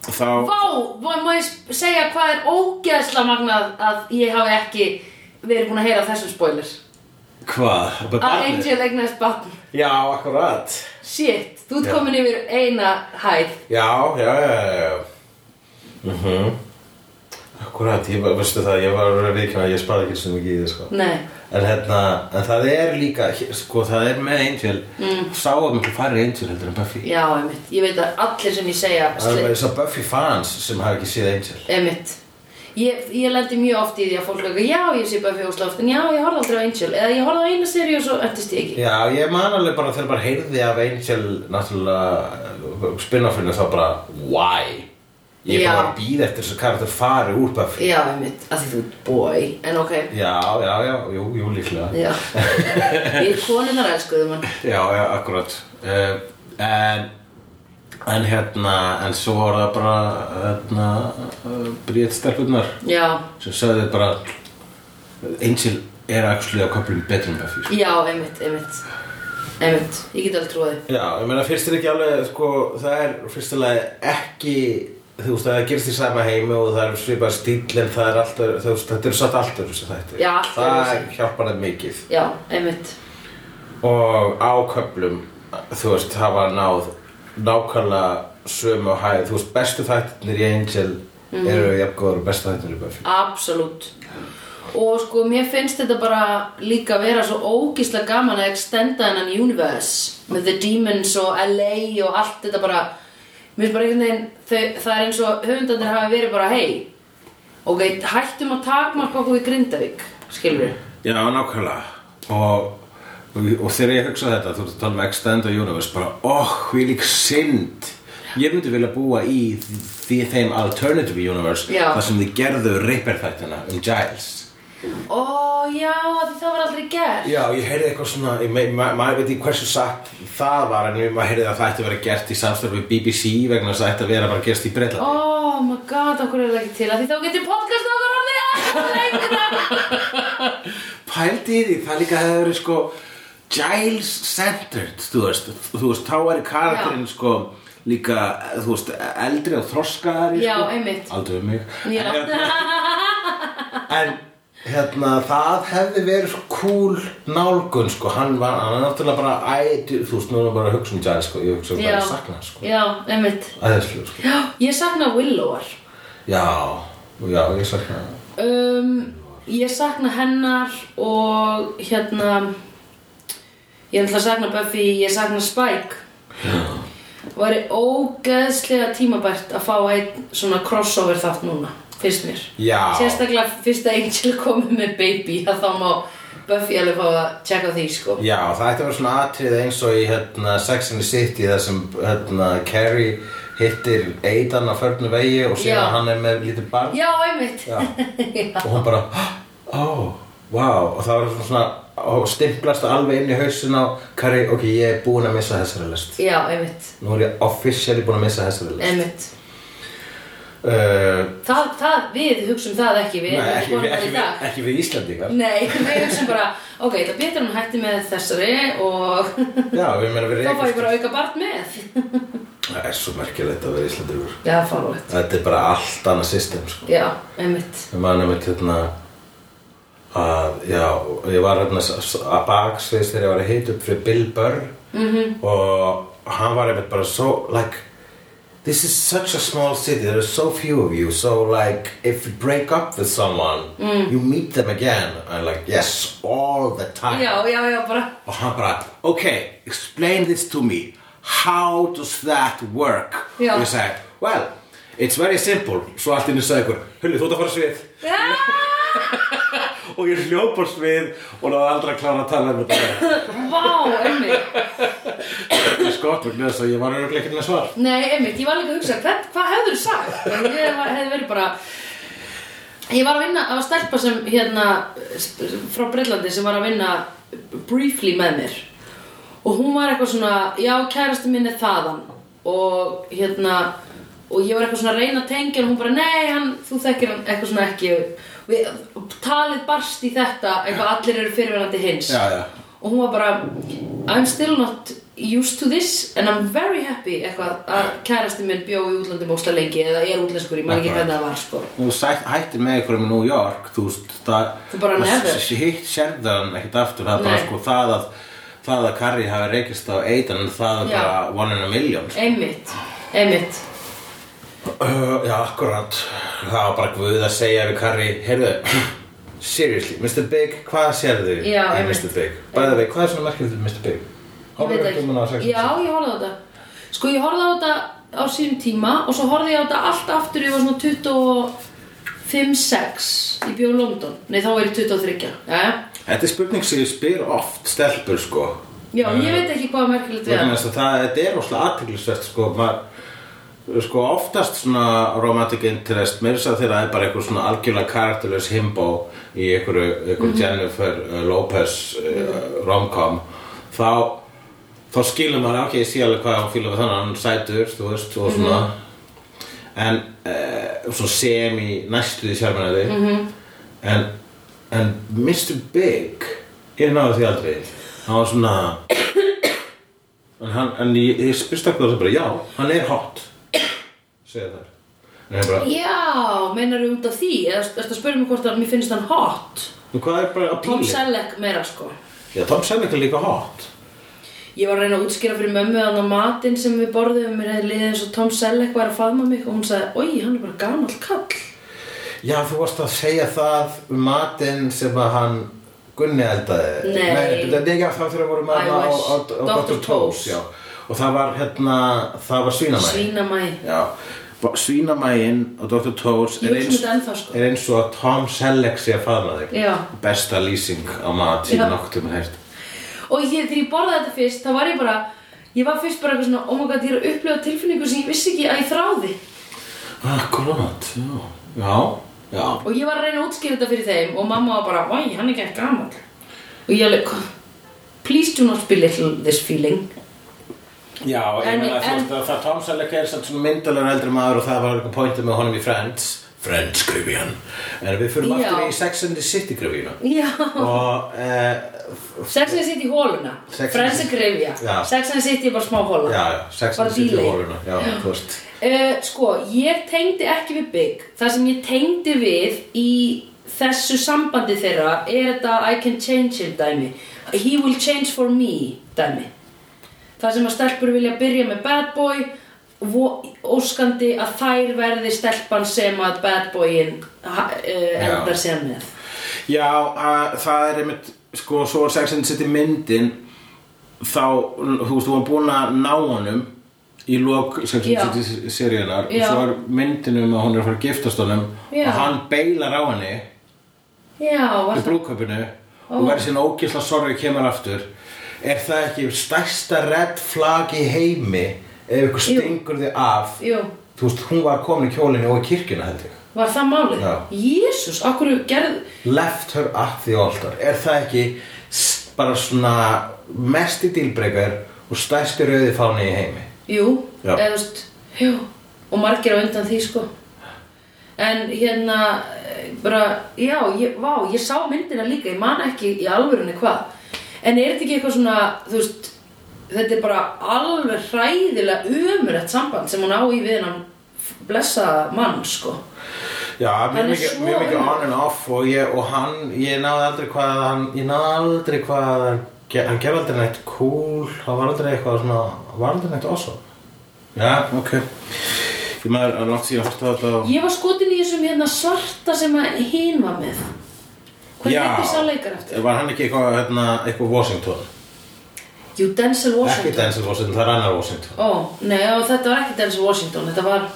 Speaker 2: þá...
Speaker 1: Vá, vá, má ég s- segja hvað er ógeðsla magnað að ég hafi ekki verið búin að heyra þessum spoiler
Speaker 2: Hvað? Bara
Speaker 1: Að
Speaker 2: barnið?
Speaker 1: Angel egnaðist batn
Speaker 2: Já, akkurat.
Speaker 1: Shit, þú ert
Speaker 2: Já.
Speaker 1: komin yfir eina hæð
Speaker 2: Já, já, já, já, já. Mhm. Akkurat, ég var, veistu það, ég var að viðkjöna að ég spara ekki svo mikið í þið, sko.
Speaker 1: Nei,
Speaker 2: En hérna, en það er líka, sko, það er með Angel, mm. sáum miklu færri Angel heldur en Buffy.
Speaker 1: já, einmitt Ég veit að allir sem ég segja
Speaker 2: Það er
Speaker 1: sli-
Speaker 2: bara þess að Buffy fans sem hafa ekki séð Angel.
Speaker 1: Einmitt Ég, ég lendi mjög oft í því að fólk lögur, já, ég sé Buffy ósla oft, en já, ég horfði aldrei á Angel, eða ég horfði á eina seri og svo endist ég ekki.
Speaker 2: Já, ég man alveg bara þegar bara heyrði af Angel náttúrulega spin-offinu þá bara Why? Ég
Speaker 1: Já.
Speaker 2: er bara að býða eftir þessu karakter fari úr Buffy
Speaker 1: Já, einmitt, að því þú ert boy, en ok,
Speaker 2: Já, já, já, jú, jú, líklega <laughs>
Speaker 1: já. Við konunar elskuðum hann.
Speaker 2: Já, já, akkurat uh, En En hérna, en svo var það bara hérna, uh, bríðt stelpunnar
Speaker 1: Já,
Speaker 2: sem sagði bara Angel er actually á köflum betri en Buffy sko.
Speaker 1: já, einmitt, einmitt, einmitt, ég get alveg trúið.
Speaker 2: Já, ég meina fyrst er ekki alveg, sko, það er fyrstulega ekki, þú veist, það gerist í sama heimi og það er svipað stíl en það er alltaf, þú veist, þetta er satt alltaf þessi þættir.
Speaker 1: Já, allt
Speaker 2: Það
Speaker 1: öðruvísi.
Speaker 2: hjálpar það mikið.
Speaker 1: Já, einmitt,
Speaker 2: Og á köflum, þú veist, hafa náð nákvæmlega sömu og hæð, þú veist, bestu þættirnir í Angel
Speaker 1: Mhm.
Speaker 2: eru jafn góður og bestu þættirnir í Buffy.
Speaker 1: absolutt. Og sko, mér finnst þetta bara líka vera svo ógísla gaman að extenda hennan universe með The Demons og LA og allt þetta bara mér finnst bara einhvern veginn, þau, það er eins og höfundandir hafi verið bara, hei ok, hættum að takmarka okkur í Grindavík skilur við
Speaker 2: Já, nákvæmlega og, og, og þegar ég hugsa þetta þú ert að tala um Extended Universe bara, óh, oh, hví lík synd ég myndi vilja búa í því þeim Alternative Universe
Speaker 1: Já.
Speaker 2: þar sem þið gerðu Ripper þættina um Giles
Speaker 1: ó já, af því það var aldrei gert
Speaker 2: Já, ég heyrði eitthvað svona, ég me- ma- maður veit ekki hversu satt það var en ég maður heyrði að það ætti að vera gert í samstarfi við BBC vegna þess að það ætti að vera bara gerst í Bretland
Speaker 1: oh my god, okkur er það ekki til af því þá getur podcast okkur orðið alltaf
Speaker 2: <laughs>
Speaker 1: lengra
Speaker 2: pældi í því, það líka hefði verið sko Giles centered þú veist, þú veist, þá er karakterinn sko líka, þú veist, eldri og þroskaðari
Speaker 1: Já,
Speaker 2: sko.
Speaker 1: einmitt.
Speaker 2: aldrei um mig
Speaker 1: Já.
Speaker 2: en hérna, það hefði verið svo cool nálgun sko, hann var, hann er náttúrulega bara æ, þú þú veist, nú erum við bara að hugsa um Giles sko, ég hugsa um bara
Speaker 1: já,
Speaker 2: að sakna hans, sko
Speaker 1: já, einmitt
Speaker 2: æðislu sko,
Speaker 1: Já, ég sakna Willowar
Speaker 2: já, já, ég sakna hann
Speaker 1: Um, ég sakna hennar og hérna ég ætla að sakna Buffy, ég sakna Spike væri ógeðslega tímabært að fá einn svona crossover þátt núna, finnst mér
Speaker 2: Já.
Speaker 1: sérstaklega fyrst að Angel komið með Baby að þá má Buffy alveg fá að tjekka á því sko
Speaker 2: Já, það ætti að vera svona atriði eins og í hérna, Sex and the City þar sem hérna, Carrie hittir Aidan á förnu vegi og síðan
Speaker 1: Já.
Speaker 2: hann er með lítið barn
Speaker 1: já, einmitt <laughs>
Speaker 2: Já. og hún bara, ó, wow og það var svona og stimplast alveg inn í hausin á Carrie, ok, ég er búin að missa þessari list
Speaker 1: já, einmitt,
Speaker 2: nú er ég officially búin að missa þessari list
Speaker 1: einmitt
Speaker 2: uh,
Speaker 1: það, það, við hugsum það ekki við
Speaker 2: Nei,
Speaker 1: erum
Speaker 2: ekki,
Speaker 1: komin
Speaker 2: við-
Speaker 1: þar
Speaker 2: ekki,
Speaker 1: í dag.
Speaker 2: við- ekki við Íslandingar
Speaker 1: <laughs> Nei, við hugsaum bara, ok, það er betur en hún hætti með þessari og þá
Speaker 2: Já, við meina við
Speaker 1: fá ég
Speaker 2: reykjum
Speaker 1: bara auka barn með.
Speaker 2: Það er svo merkilegt að vera Íslandingur
Speaker 1: Já, fárlegt.
Speaker 2: Þetta er bara allt annað system sko
Speaker 1: Já, einmitt.
Speaker 2: Ég man einmitt hérna að, já, ég var hérna s- s- að baksviðs þegar ég var að hita upp fyrir Bill Burr
Speaker 1: Mhm.
Speaker 2: -hmm. og hann var einmitt bara so, like This is such a small city, there are so few of you, so like, if you break up with someone,
Speaker 1: Mm.
Speaker 2: you meet them again, and like, yes, all the time.
Speaker 1: Já, já, já, bara,
Speaker 2: Og hann bara, ok, explain this to me. How does that work?
Speaker 1: Já.
Speaker 2: Og ég sagði, well, it's very simple. Svo allt inni sagði ykkur, hulli, þú ert að fara á svið. og ég hljóp á svið og náði aldrei að klára að tala um þetta.
Speaker 1: vá, einmitt.
Speaker 2: Það er skott vegna þess að ég var örugglega ekki með svar.
Speaker 1: Nei, einmitt, ég var líka að hugsa, hvern, hvað hefur þú sagt? En Ég var, hefði verið bara, ég var að vinna, það var stelpa sem hérna, s- frá Breitlandi sem var að vinna briefly með mér. og hún var eitthvað svona já, kærasti minn er þaðan og hérna og ég var eitthvað svona að reyna að tengja og hún bara nei, hann, þú þekkir hann eitthvað svona ekki við, talið barst í þetta eitthvað allir eru fyrirverandi hins
Speaker 2: Já, já.
Speaker 1: og hún var bara I'm still not used to this and I'm very happy eitthvað að kærasti minn bjó í útlöndum ósla lengi eða er útlenskur, ég man ekki hvernig það var sko.
Speaker 2: Þú sætt, hættir með ykkur um New York, þú veist, það...
Speaker 1: Þú bara never.
Speaker 2: s- s- Hitt sérðan ekkert aftur, það er bara
Speaker 1: Nei.
Speaker 2: sko það að... Það að Carrie hafi reykist á Aidan, það er
Speaker 1: Já.
Speaker 2: bara one in a million, sko.
Speaker 1: einmitt, einmitt
Speaker 2: Uh, já, akkurat það var bara guð að segja við Carrie heyrðu, seriously, Mr. Big hvað sérðu
Speaker 1: Já,
Speaker 2: í
Speaker 1: einmitt.
Speaker 2: Mr. Big bæðið við, hvað er svona merkjöld við Mr. Big
Speaker 1: Ég veit
Speaker 2: Horfðirðu
Speaker 1: ekki.
Speaker 2: ekki á sex-
Speaker 1: Já, ég horfði á þetta. Sko, ég horfði á þetta á sínum tíma og svo horfði ég á þetta allt aftur ég var svona 25-6 í bjóð London. Nei, þá er ég 23. Jæja.
Speaker 2: Þetta er spurning sem ég spyr oft stelpur sko
Speaker 1: Já, ég veit ekki hvað er merkilegt við það.
Speaker 2: vegna þess að það, þetta er óslega aðtiklisvert sko, maður sko oftast svona romantic interest mér þess að þeirra er bara einhver svona algjörlega karakterlaus himbo í einhverju, einhverju Jennifer uh, Lopez uh, romcom þá þá skilur maður ok, ég sé alveg hvað hann fílar við þannig hann er sætur, þú veist, og svona en uh, svona sem í næstu því sjálfmennaði
Speaker 1: Mhm.
Speaker 2: en, en Mr. Big ég náði því aldrei hann var svona En, hann, en ég, ég spyrst ekki það sem bara, já, hann er hot segja þær En ég bara,
Speaker 1: Já, meinar ég út af því? Eða ertu að spyrja mig hvort að mér finnst hann hot?
Speaker 2: "Nú, hvað er bara að
Speaker 1: Tom
Speaker 2: píli?
Speaker 1: Selleck meira, sko.
Speaker 2: Já, Tom Selleck er líka hot
Speaker 1: Ég var að reyna að útskýra fyrir mömmu þannig að matinn sem við borðum mér hefði liðið eins og Tom Selleck var að faðma mig og hún sagði, oi, hann er bara gamall kall.
Speaker 2: Já, þú varst að segja það um matinn sem að hann Gunni eldaði
Speaker 1: Nei.
Speaker 2: Nei, nei já, það þegar vorum
Speaker 1: I
Speaker 2: að á, á,
Speaker 1: wish.
Speaker 2: á, á
Speaker 1: Dr.
Speaker 2: Dr. Toes
Speaker 1: Toes.
Speaker 2: já. Og það var, hérna, það var svínamæg
Speaker 1: Svínamæði.
Speaker 2: Já, ba- svínamægin og Dr. Toes
Speaker 1: Ég hugsa
Speaker 2: er
Speaker 1: um
Speaker 2: eins,
Speaker 1: þetta ennþá, sko.
Speaker 2: er eins og að Tom Selleck sé að faðna þig
Speaker 1: Já.
Speaker 2: Besta lýsing á mat sem
Speaker 1: Já.
Speaker 2: noktum hægt
Speaker 1: og ég, þegar ég borðaði þetta fyrst þá var ég bara ég var fyrst bara eitthvað svona oh my god ég er að upplifa tilfinningu sem ég vissi ekki að ég þráði
Speaker 2: Akkurat, Ah, já Já, já
Speaker 1: og ég var að reyna að útskýra þetta fyrir þeim og mamma var bara oi hann er ekki gammal og ég alveg "Hva? please do not belittle this feeling
Speaker 2: Já, ég
Speaker 1: En-
Speaker 2: meina þú
Speaker 1: en-
Speaker 2: veist að það Tom Selleck er samt svona myndalega eldri maður og það var eitthvað pointið með honum í Friends Friends grifjan En við fyrir
Speaker 1: Já.
Speaker 2: aftur í Sex and the City grifjuna
Speaker 1: já
Speaker 2: Og eh,
Speaker 1: sex and the city hóluna
Speaker 2: Sex and the
Speaker 1: friends and
Speaker 2: City.
Speaker 1: grefja
Speaker 2: Já.
Speaker 1: sex and the city er bara smá hóla
Speaker 2: Já, já, Sex
Speaker 1: Bara
Speaker 2: and the City
Speaker 1: bílei.
Speaker 2: hóluna Já, þú veist
Speaker 1: Uh, sko, ég tengdi ekki við Big Það sem ég tengdi við í þessu sambandi þeirra er þetta I can change him dæmi He will change for me dæmi Það sem að stelpur vilja byrja með bad boy vo- óskandi að þær verði stelpan sem að bad boyin uh, endar sér með
Speaker 4: Já, að, það er einmitt sko, svo er Sex and the City myndin þá, þú veist, þú var búin að ná honum í lok Sex and
Speaker 1: Já.
Speaker 4: the City seríunar og
Speaker 1: Já.
Speaker 4: svo er myndin um að hún er að fara að giftast honum
Speaker 1: Já.
Speaker 4: og hann beilar á henni
Speaker 1: Já, var
Speaker 4: í
Speaker 1: það
Speaker 4: brúköpinu og verður sín ógisla sorgi kemur aftur er það ekki stærsta red flag í heimi ef ykkur
Speaker 1: Jú.
Speaker 4: stingur þig af
Speaker 1: Jú,
Speaker 2: Þú veist, hún var komin í kjólinu og í kirkjuna held ég
Speaker 1: var það málið?
Speaker 2: Já.
Speaker 1: Jésús, okkur gerð
Speaker 2: Left her at the altar Er það ekki s- bara svona mesti dýlbreykar og stærsti rauði fáni í heimi?
Speaker 1: Jú,
Speaker 2: Já.
Speaker 1: eða þú veist, jú, og margir á undan því sko. En hérna, eh, bara, já, ég, vá, ég sá myndina líka, ég man ekki í alvörunni hvað. En er þetta ekki eitthvað svona, þú veist, þetta er bara alveg hræðilega umrætt samband sem hún á í við hann blessa mann, sko.
Speaker 2: Já, mjög
Speaker 1: Hann er
Speaker 2: mikið,
Speaker 1: svo
Speaker 2: mjög mikið
Speaker 1: ömurlegur.
Speaker 2: on and off og, ég, og hann, ég náði aldrei hvað hann, ég náði aldrei hvað hann, ge- hann gerði aldrei neitt cool, hann var aldrei eitthvað svona, hann var aldrei neitt awesome. Já, ok. Ég maður, hann langt síðan hort að þetta og...
Speaker 1: Ég var skotin í þessum hérna svarta sem að hinn var með. Hvað
Speaker 2: Já.
Speaker 1: heitir sá leikar eftir?
Speaker 2: Var hann ekki eitthvað, hérna, eitthvað Washington?
Speaker 1: Jú, Denzel Washington.
Speaker 2: Ekki Denzel Washington, það er annar Washington.
Speaker 1: Ó, nei, og þetta var ekki Denzel Washington, þetta var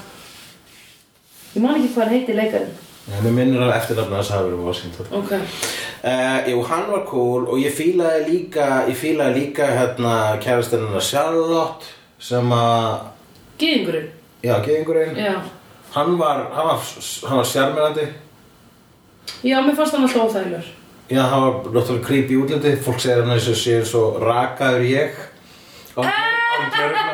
Speaker 1: Ég man ekki hvað hann heiti leikarinn
Speaker 2: Nei, mér minnir að eftirnafna þess að það hafi verið Washington.
Speaker 1: Ok
Speaker 2: Uh, jú, hann var cool og ég fílaði líka, ég fílaði líka hérna kærastennina Charlotte sem að,
Speaker 1: Gýðingurinn
Speaker 2: já, geðingurinn.
Speaker 1: Já
Speaker 2: Hann var, hann var, hann var sjarmerandi
Speaker 1: Já, mér fannst hann alltaf óþægilegur
Speaker 2: Já, hann var náttúrulega creepy í útliti Fólk segir hann eins og séu svo rakaður ég Án- án djörna.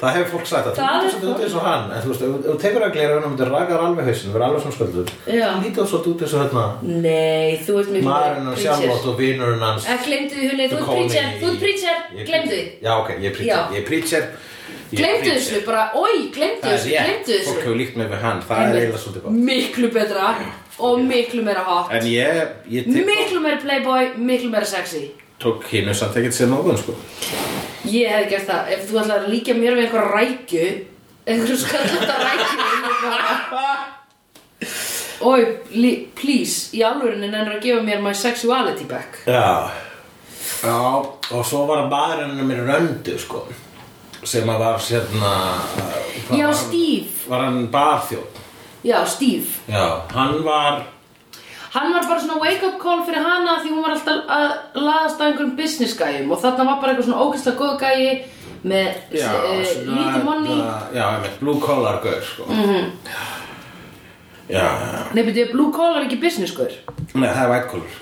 Speaker 2: Það hefur fólk sagt að þú
Speaker 1: Það er
Speaker 2: myndir svolítið út eins og hann En þú veist, ef ef þú tekur að glera hann og myndir rakaður alveg hausinn Verður alveg svona sköldur
Speaker 1: Já.
Speaker 2: Lítið svolítið út eins og hérna
Speaker 1: Nei, þú ert mikið
Speaker 2: Marinn og sjálfótt og vinurinn hans
Speaker 1: Eh, gleymdu því, Hulli, þú ert preacher, þú ert preacher, gleymdu því
Speaker 2: Já, ok, ég er
Speaker 1: Já.
Speaker 2: preacher, ég er preacher ég er
Speaker 1: Gleymdu
Speaker 2: preacher.
Speaker 1: þessu, bara, oi, glemdu
Speaker 2: Það er
Speaker 1: þessu,
Speaker 2: rétt,
Speaker 1: glemdu
Speaker 2: fólk
Speaker 1: þessu
Speaker 2: hefur líkt mig við hann Það er eiginlega svolítið gott
Speaker 1: Miklu betra og miklu meira hot
Speaker 2: En ég, ég tek-
Speaker 1: Miklu meira playboy, miklu meira sexy
Speaker 2: tók hínu samt ekkert sem áðan sko
Speaker 1: Ég hefði gert það, ef þú ætlar að líka mér við einhver rækju einhver skallata rækju inn á Oi, li- please, í alvörinu nennir að gefa mér my sexuality back
Speaker 2: Já Já, og svo var maðurinn mér röndu sko sem að var sérna
Speaker 1: Já,
Speaker 2: hvað var hann?
Speaker 1: Steve.
Speaker 2: Var hann barþjóð
Speaker 1: Já, Steve
Speaker 2: Já, hann var
Speaker 1: Hann var bara svona wake up call fyrir hana því hún var alltaf að laðast að einhverjum business gæjum og þarna var bara eitthvað svona ógeðslega góð gæji með
Speaker 2: Já,
Speaker 1: eh, lítið monni
Speaker 2: svona- Já, einmitt, blue collar gaur sko -hmm.
Speaker 1: Mhm.
Speaker 2: Já, já
Speaker 1: Nei, betur, blue collar er ekki business gaur
Speaker 2: Nei, það er white collar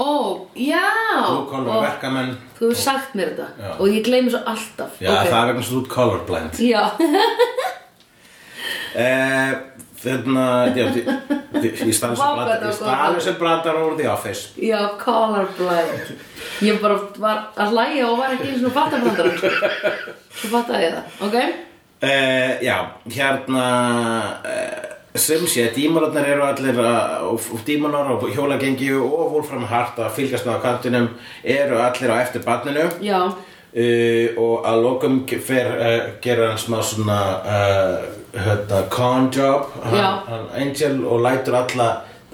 Speaker 1: Ó, já
Speaker 2: Blue collar
Speaker 1: Og
Speaker 2: verkamenn
Speaker 1: Þú hefur sagt mér þetta
Speaker 2: Já.
Speaker 1: og ég gleymi svo alltaf
Speaker 2: Já,
Speaker 1: Ok.
Speaker 2: það er vegna svo út colorblind
Speaker 1: Já, <laughs>
Speaker 2: Eh, Þarna, já, þi- þi- ég
Speaker 1: Vá,
Speaker 2: stæði sem
Speaker 1: hvað þetta
Speaker 2: brandar
Speaker 1: var góð.
Speaker 2: Ég stæði sem brandar over the office
Speaker 1: já, colorblind Ég bara var að hlæja og var ekki eins og fattabrandar Svo fattaði ég það, ok?
Speaker 2: Eh, já, hérna eh, sem sé, dímonarnar eru allir að- og og dímonar og hjólagengi og Wolfram Hart að fylgjast með á kantinum eru allir á eftir barninu
Speaker 1: Já,
Speaker 2: uh, og að lokum fer uh, gera hann smá svona uh, hérna, con job hann,
Speaker 1: Já.
Speaker 2: hann Angel og lætur alla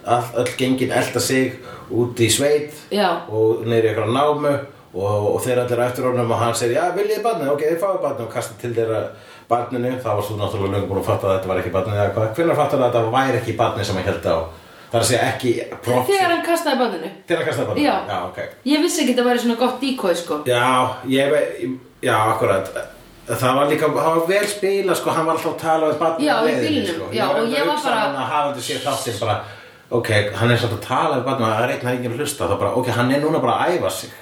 Speaker 2: all, all gengin elda sig út í sveit
Speaker 1: Já.
Speaker 2: og neyri eitthvað námu og, og þeir allir á eftir honum og hann segir já viljið barnið, ok þið fáið barnið og kasta til þeirra barninu, það var svo náttúrulega löngum búin að fatta að þetta var ekki barnið eða hvað, hvenær fattar það að þetta væri ekki barnið sem hann held á það er að segja ekki props
Speaker 1: þegar hann kastaði banninu
Speaker 2: til að kasta barnið,
Speaker 1: Já.
Speaker 2: já ok
Speaker 1: Ég vissi ekki að þetta væri svona gott decoy, sko
Speaker 2: Já, ég veit, já, akkurat Það var líka, það var vel spila sko, hann var alltaf að tala við barnið
Speaker 1: Já,
Speaker 2: á
Speaker 1: í
Speaker 2: leiðinni,
Speaker 1: bílnum,
Speaker 2: sko.
Speaker 1: já, og ég var
Speaker 2: að hugsa
Speaker 1: bara-
Speaker 2: hann að hafa þetta sér þáttinn bara ok, hann er samt að tala við barnið það er einn að enginn hlusta, þá bara, ok, hann er núna bara að æfa sig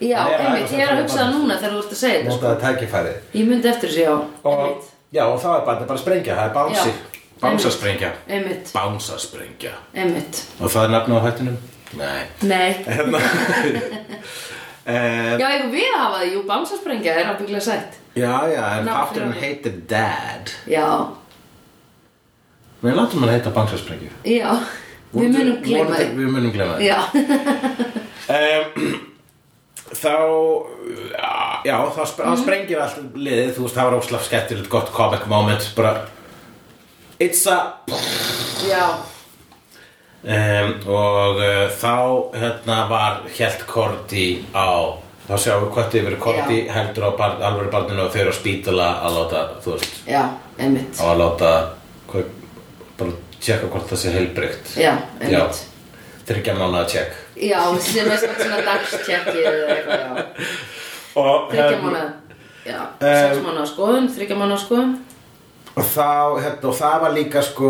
Speaker 1: Já,
Speaker 2: Hann er að
Speaker 1: einmitt,
Speaker 2: æfa sig
Speaker 1: ég er að
Speaker 2: fyrir
Speaker 1: hugsa það
Speaker 2: barnið.
Speaker 1: núna þegar þú ert að segja þetta sko.
Speaker 2: notaði tækifærið
Speaker 1: Ég myndi eftir þessu, já
Speaker 2: og, já, og þá er barnið bara að sprengja, það er bánsi
Speaker 1: Já.
Speaker 2: bánsasprengja
Speaker 1: Einmitt,
Speaker 2: bánsasprengja,
Speaker 1: einmitt
Speaker 2: og það er nafnum á hættunum nei,
Speaker 1: Nei,
Speaker 2: hérna Eh,
Speaker 1: já, ég við hafa það, jú, bánsasprengja er ábygglega sætt
Speaker 2: já, já,
Speaker 1: Nafn
Speaker 2: en þátturinn
Speaker 1: fyrir-
Speaker 2: heitir Dad
Speaker 1: Já,
Speaker 2: við látum hann heita bánsasprengju
Speaker 1: já, við munum gleyma
Speaker 2: Vonandi-
Speaker 1: því
Speaker 2: Við munum gleyma því
Speaker 1: Já, <laughs>
Speaker 2: um, Þá uh, já, Já, þá sp
Speaker 1: Mhm.
Speaker 2: mm. sprengir allt liðið Þú veist, það var óslega skemmtilegt gott comic moment Bara It's a
Speaker 1: já,
Speaker 2: um, Og uh, þá hérna var Helt Korti á Þá sjáum við hvort yfir Korti heldur á bar, alvöru barninu og þau eru á spítala að láta, þú veist,
Speaker 1: já, einmitt
Speaker 2: á að láta hvað, bara tjekka hvort það sé heilbrygt
Speaker 1: Já, einmitt
Speaker 2: Þryggja mánuða tjekk
Speaker 1: Já, sem er samt svona dagstjekki eða eitthvað, já
Speaker 2: Og
Speaker 1: Þryggja
Speaker 2: hérna-
Speaker 1: mánuða, já, sex mánuða skoðun, þryggja mánuða skoðun
Speaker 2: og þá, hérna, og það var líka sko,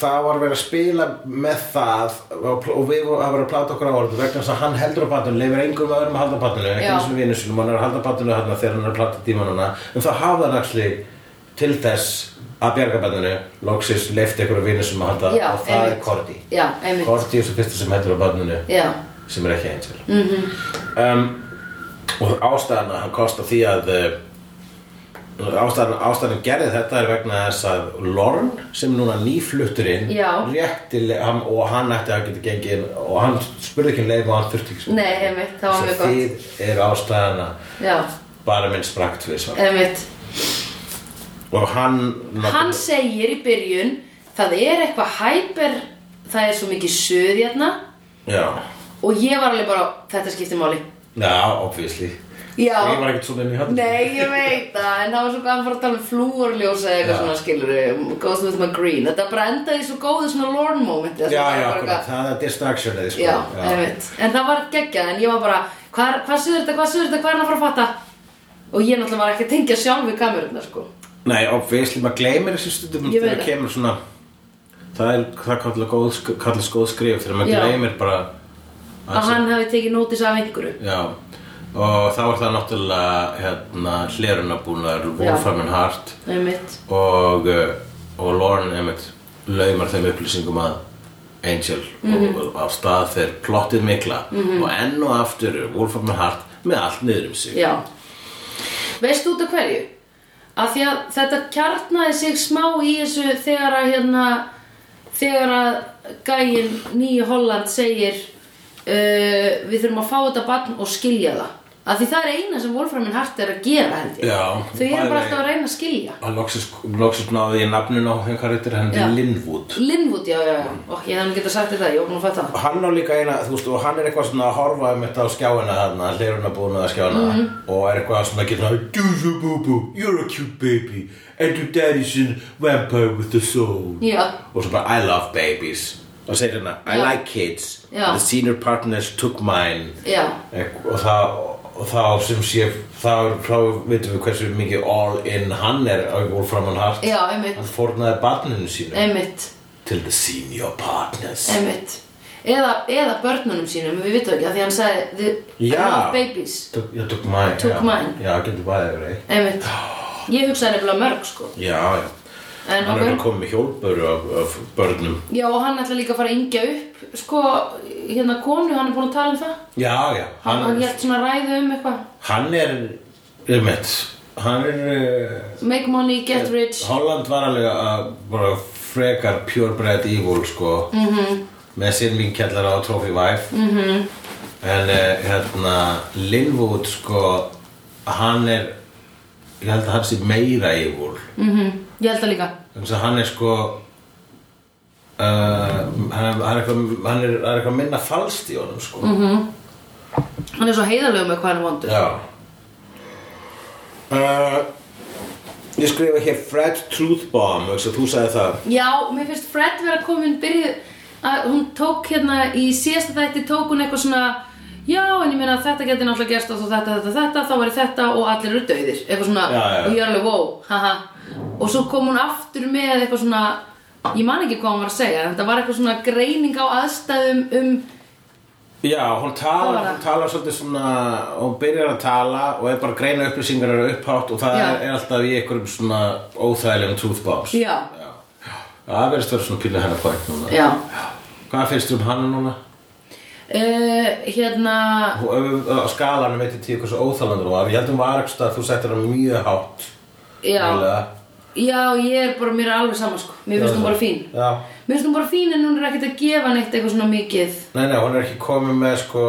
Speaker 2: það var verið að spila með það og og við vorum að vera að plata okkur á orðu vegna þess að hann heldur á patinu, lifir engum öðrum að halda á patinu ekki
Speaker 1: Já.
Speaker 2: eins og vinnu sinum, hann er að halda á patinu þarna þegar hann er að plata tímanuna en þá hafði hann axli til þess að bjarga patinu, loksins leifti ykkur vinnu sem að halda
Speaker 1: Já,
Speaker 2: og það er
Speaker 1: einmitt.
Speaker 2: Korti
Speaker 1: Já, einmitt,
Speaker 2: Korti er svo fyrsta sem heldur á patinu
Speaker 1: já,
Speaker 2: sem er ekki Angel mm
Speaker 1: Mhm.
Speaker 2: -hmm. um, og ástæðan að hann kosta því að uh, ástæðan, ástæðan gerði þetta er vegna þess að Lorne sem núna nýfluttur inn
Speaker 1: Já.
Speaker 2: rétti le- hann, og hann ætti að geta gengið inn og hann spurði ekki um leið og hann þurfti ekki
Speaker 1: nei, einmitt, það var mjög
Speaker 2: gott
Speaker 1: gott
Speaker 2: því er ástæðan að
Speaker 1: Já,
Speaker 2: bara minn sprakt við svo
Speaker 1: einmitt
Speaker 2: og hann
Speaker 1: hann segir í byrjun það er eitthvað hæper það er svo mikið suð hérna
Speaker 2: já,
Speaker 1: og ég var alveg bara, þetta skiptir máli
Speaker 2: já, obviously
Speaker 1: Já.
Speaker 2: ég var ekkert svona inn í hann
Speaker 1: nei, <laughs> ég veit það, en það var svo gaman fara að tala um flúorljósa eða eitthvað
Speaker 2: Já.
Speaker 1: svona skilur goes with my green, þetta bara endaði í svo góðu svona lorn moment eða
Speaker 2: já,
Speaker 1: svona
Speaker 2: já,
Speaker 1: bara
Speaker 2: akkurat,
Speaker 1: eitthvað-
Speaker 2: það er distractionið sko.
Speaker 1: já, einmitt, en það var geggjað en ég var bara, hvað, er- hvað suður þetta, hvað suður þetta hvað er hann að fara að fatta og ég náttúrulega var ekki að tengja sjálf við kamerunna sko.
Speaker 2: Nei, obviously, maður gleymir þessu stundum
Speaker 1: Ég veit
Speaker 2: þegar
Speaker 1: það.
Speaker 2: kemur svona það er, það kallar góð, sk- kallast góð skrif þegar maður
Speaker 1: Já.
Speaker 2: gleymir bara
Speaker 1: að hann hafi tekið nótis af einhverju
Speaker 2: já, og þá er það náttúrulega hérna, hlerunabúnaður Wolfram and Hart
Speaker 1: einmitt,
Speaker 2: og, uh, og Lauren Emmett laumar þeim upplýsingum að Angel
Speaker 1: Mhm.
Speaker 2: og á stað þeir plottið mikla og enn og aftur er Wolfram and Hart með allt niður um sig
Speaker 1: Já Veistu út af hverju? Að því að þetta kjarnaði sig smá í þessu þegar að hérna þegar að gæin nýju Holland segir uh, við þurfum að fá þetta barn og skilja það Af því það er eina sem Wolframin Hart er að gera held ég
Speaker 2: Já,
Speaker 1: Þau eru
Speaker 2: bæði.
Speaker 1: bara alltaf að reyna að skilja
Speaker 2: Að loksins, loksins náði ég nafninu á hengar eittir henni
Speaker 1: Já.
Speaker 2: Linwood
Speaker 1: Linwood, já, já, já Og ég þannig geta sagt þér það, ég opnum að fatta það
Speaker 2: Hann á líka eina, þú veist, og hann er eitthvað svona að horfa um þetta á skjáina þarna, hliruna búinu að skjáina
Speaker 1: Mhm.
Speaker 2: og er eitthvað svona að geta Doozy boo boo, you're a cute baby and your daddy's a vampire with a soul
Speaker 1: Já,
Speaker 2: og svo bara I love babies og segir hérna, I
Speaker 1: Já.
Speaker 2: like kids
Speaker 1: Já.
Speaker 2: the senior partners took mine
Speaker 1: já,
Speaker 2: Ekk- og það og þá sem sé, þá er- þá veitum við hversu mikið all in hann er á Wolfram and Hart
Speaker 1: já, einmitt
Speaker 2: hann fórnaði barninu sínu
Speaker 1: Einmitt,
Speaker 2: til the senior partners
Speaker 1: einmitt Eða, eða börnunum sínum, við vitum ekki að því hann sagði the- I
Speaker 2: Já.
Speaker 1: love babies
Speaker 2: Took, já, took mine
Speaker 1: Took
Speaker 2: já.
Speaker 1: mine.
Speaker 2: Já, getur bæðið verið
Speaker 1: Einmitt Ég hugsaði nefnilega mörg sko
Speaker 2: Já, já
Speaker 1: En
Speaker 2: Hann er
Speaker 1: ok.
Speaker 2: að koma með hjólpöru af, af börnum
Speaker 1: Já, og hann ætla líka að fara að yngja upp sko, hérna konu, hann er búin að tala um það
Speaker 2: Já, já
Speaker 1: Hann, hann
Speaker 2: Hann,
Speaker 1: hélt svona ræðu um eitthvað
Speaker 2: hann er um eitt Hann er uh,
Speaker 1: Make money, get rich
Speaker 2: Holland var alveg að bara frekar purebred evil sko -hmm.
Speaker 1: Mhm.
Speaker 2: með sinn mín kjallara á Trophy Wife mm -hmm. en eh, hérna Linwood sko hann er ég held að hann sé meira evil
Speaker 1: mm Ég held það líka
Speaker 2: þannig að hann er sko uh, hann, er- hann, er eitthvað, hann er, það er eitthvað minna falskt í honum sko
Speaker 1: Mhm.
Speaker 2: mm -hmm.
Speaker 1: Hann er svo heiðarlegu með hvað hann er vondur
Speaker 2: Já uh, Ég skrifa hér Fred Truth Bomb vegna þess að þú sagði það
Speaker 1: Já, mér finnst Fred vera komin byrjuð að hún tók hérna í síðasta þætti tók hún eitthvað svona Já, en ég meina að þetta geti náttúrulega gerst og svo þetta, þetta, þetta, þá væri þetta og allir eru dauðir eitthvað svona,
Speaker 2: Já, já, já.
Speaker 1: og ég er alveg, wow, haha og svo kom hún aftur með eitthvað svona ég man ekki hvað hún var að segja en það var eitthvað svona greining á aðstæðum um
Speaker 2: Já, hún
Speaker 1: Hvað
Speaker 2: talar,
Speaker 1: var það?
Speaker 2: hún talar svolítið svona, hún byrjar að tala og er bara að greina upplýsingar eru upphátt og það
Speaker 1: Já.
Speaker 2: er, er alltaf í einhverjum svona óþægilegum truth bombs.
Speaker 1: Já.
Speaker 2: Já, það verðist verið svona píla hennar point núna.
Speaker 1: Já,
Speaker 2: Hvað finnst þú um hann núna?
Speaker 1: uh, hérna
Speaker 2: Þú- ef- Á skalanum 1-10 hversu óþægilegur hún var, ég held hún var ekki að þú settir hann mjög hátt.
Speaker 1: Já,
Speaker 2: eiginlega.
Speaker 1: já, ég er bara, mér er alveg sama sko Mér finnst hún bara fín
Speaker 2: Já.
Speaker 1: Mér finnst hún bara fín en hún er ekkert að gefa neitt eitthvað svona mikið
Speaker 2: Nei, nei, hún er ekki komið með sko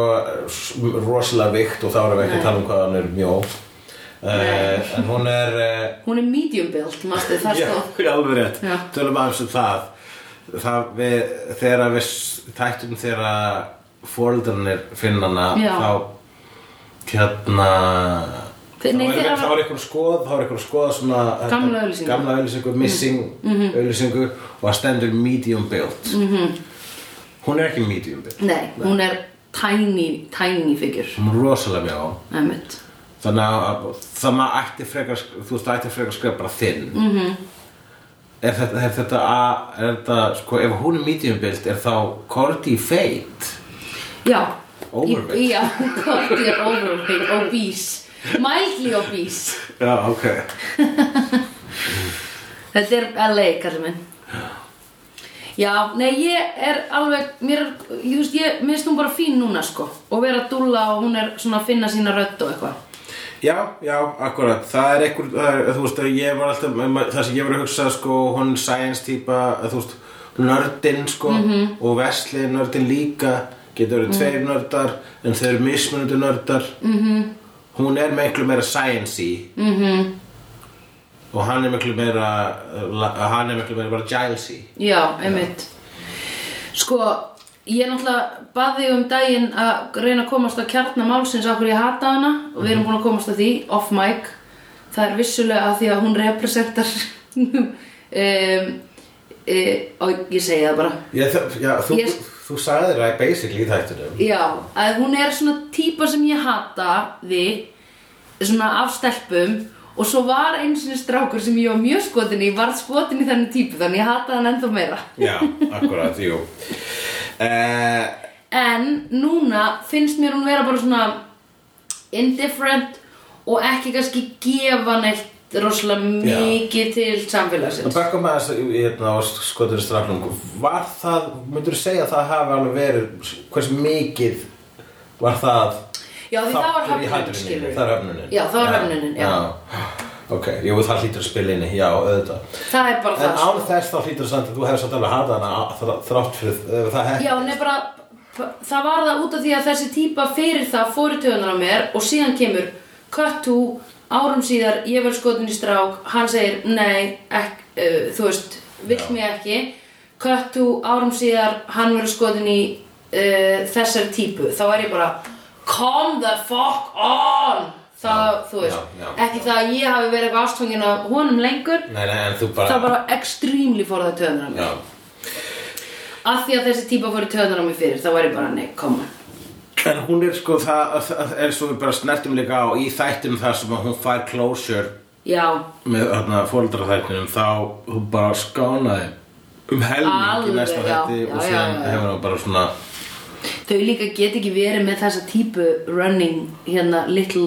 Speaker 2: s- rosalega vikt og þá erum við ekki að tala um hvað hann er mjó. Uh, en hún er... Uh,
Speaker 1: Hún er medium build, mástu, það sko?
Speaker 2: Já,
Speaker 1: stóð
Speaker 2: já, alveg rétt,
Speaker 1: Já.
Speaker 2: tölum aðeins um það Það við, þegar við s- þættum þegar fóreldrarnir finna hana
Speaker 1: Já.
Speaker 2: þá hérna
Speaker 1: Þeir- nei,
Speaker 2: þá er-
Speaker 1: þeirra-
Speaker 2: þá er einhver skoð þá er einhver skoð svona þetta-
Speaker 1: Gamla auglýsingu. Mhm.
Speaker 2: gamla auðlýsingu, missing mm og það stendur medium build -hmm. hún er ekki medium build
Speaker 1: Nei, hún er tiny, tiny figure
Speaker 2: hún er rosalega mjög á
Speaker 1: Einmitt.
Speaker 2: þannig að það maður ætti frekar þú veist, ætti frekar að skrifa bara þinn mm -hmm. er þetta, er þetta, að, er þetta sko, ef hún er medium build er þá Cordy feit
Speaker 1: Já
Speaker 2: Overweight.
Speaker 1: Í- Já, Korti er overweight, obese Mildly obese
Speaker 2: já, ok
Speaker 1: Þetta er LA, kallar minn Já, nei, ég er alveg, mér er, ég veist, ég, mér finnst hún bara fín núna, sko Og vera dúlla og hún er svona að finna sína rödd og eitthvað
Speaker 2: já, já, akkurat, það er einhver það er, þú veist, að ég var alltaf ma- það sem ég var að hugsa, sko, hún er science típa að, þú veist, nördin, sko og vesli nördin líka getur verið tveir nördar en þau eru mismunandi nördar mm -hmm. hún er miklu meira science-y og hann er miklu meira uh, la- hann er miklu meira bara Gilesy
Speaker 1: Já, einmitt Sko, ég náttúrulega bað þig um daginn að reyna að komast að kjarna málsins af hverju ég hata hana og við erum búin að komast að því, off mic Það er vissulega að því að hún representar <laughs> um, e, og ég segi það bara
Speaker 2: já, já, þú,
Speaker 1: Ég-
Speaker 2: þú sagði það basically í þættunum
Speaker 1: Já, að hún er svona típa sem ég hata því svona af stelpum og svo var einu sinni strákur sem ég var mjög skotin í varð skotin í þenni típu þannig ég hata hann ennþá meira
Speaker 2: já, akkurat, jú uh,
Speaker 1: en núna finnst mér hún vera bara svona indifferent og ekki kannski gefa neitt rosalega
Speaker 2: Já.
Speaker 1: mikið til samfélagsins
Speaker 2: að baka með þess hérna, á skotur strafnum var það, myndur þú segja að það hafi alveg verið hversu mikið var það
Speaker 1: Já, því það var
Speaker 2: þáttur í
Speaker 1: höfnunin,
Speaker 2: höfnuninni?
Speaker 1: skilurðu.
Speaker 2: það er höfnunin
Speaker 1: Já, það var höfnunin, já.
Speaker 2: ok, jú, það hlýtur að spila inni, já, auðvitað
Speaker 1: það er bara
Speaker 2: En
Speaker 1: það sko.
Speaker 2: án þess þá hlýtur samt að þú hefur samt alveg hatað hana þrátt fyrir eh, það hefði.
Speaker 1: Já, hún er bara það var það út af því að þessi típa fyrir það fór í töðunar á mér og síðan kemur cut to árum síðar, ég verð skotin í strák hann segir, nei, ek, uh, þú veist vill
Speaker 3: Já.
Speaker 1: mig ekki cut to árum síðar, hann verður skotin í uh, þessari típu þá er ég bara, come the fuck on það,
Speaker 3: Já,
Speaker 1: þú veist,
Speaker 3: já, já.
Speaker 1: ekki það að ég hafi verið eitthvað ástfangin af honum lengur
Speaker 3: Nei, nei, en þú bara
Speaker 1: það bara extremely fór það í töðunar á mér
Speaker 3: Já,
Speaker 1: að því að þessi típa fór í töðunar á mig fyrir þá var ég bara, nei, come on
Speaker 2: En hún er sko, það það er svo við bara snertum líka á í þættum þar sem að hún fær closure
Speaker 1: já,
Speaker 2: með hérna, fóreldraþættinum þá hún bara skánaði um helming í
Speaker 1: Alveg,
Speaker 2: næsta
Speaker 1: já,
Speaker 2: þætti
Speaker 1: já,
Speaker 2: og
Speaker 1: já,
Speaker 2: síðan
Speaker 1: já, já.
Speaker 2: hefur hún bara svona
Speaker 1: Þau líka get ekki verið með þessa típu running, hérna, little,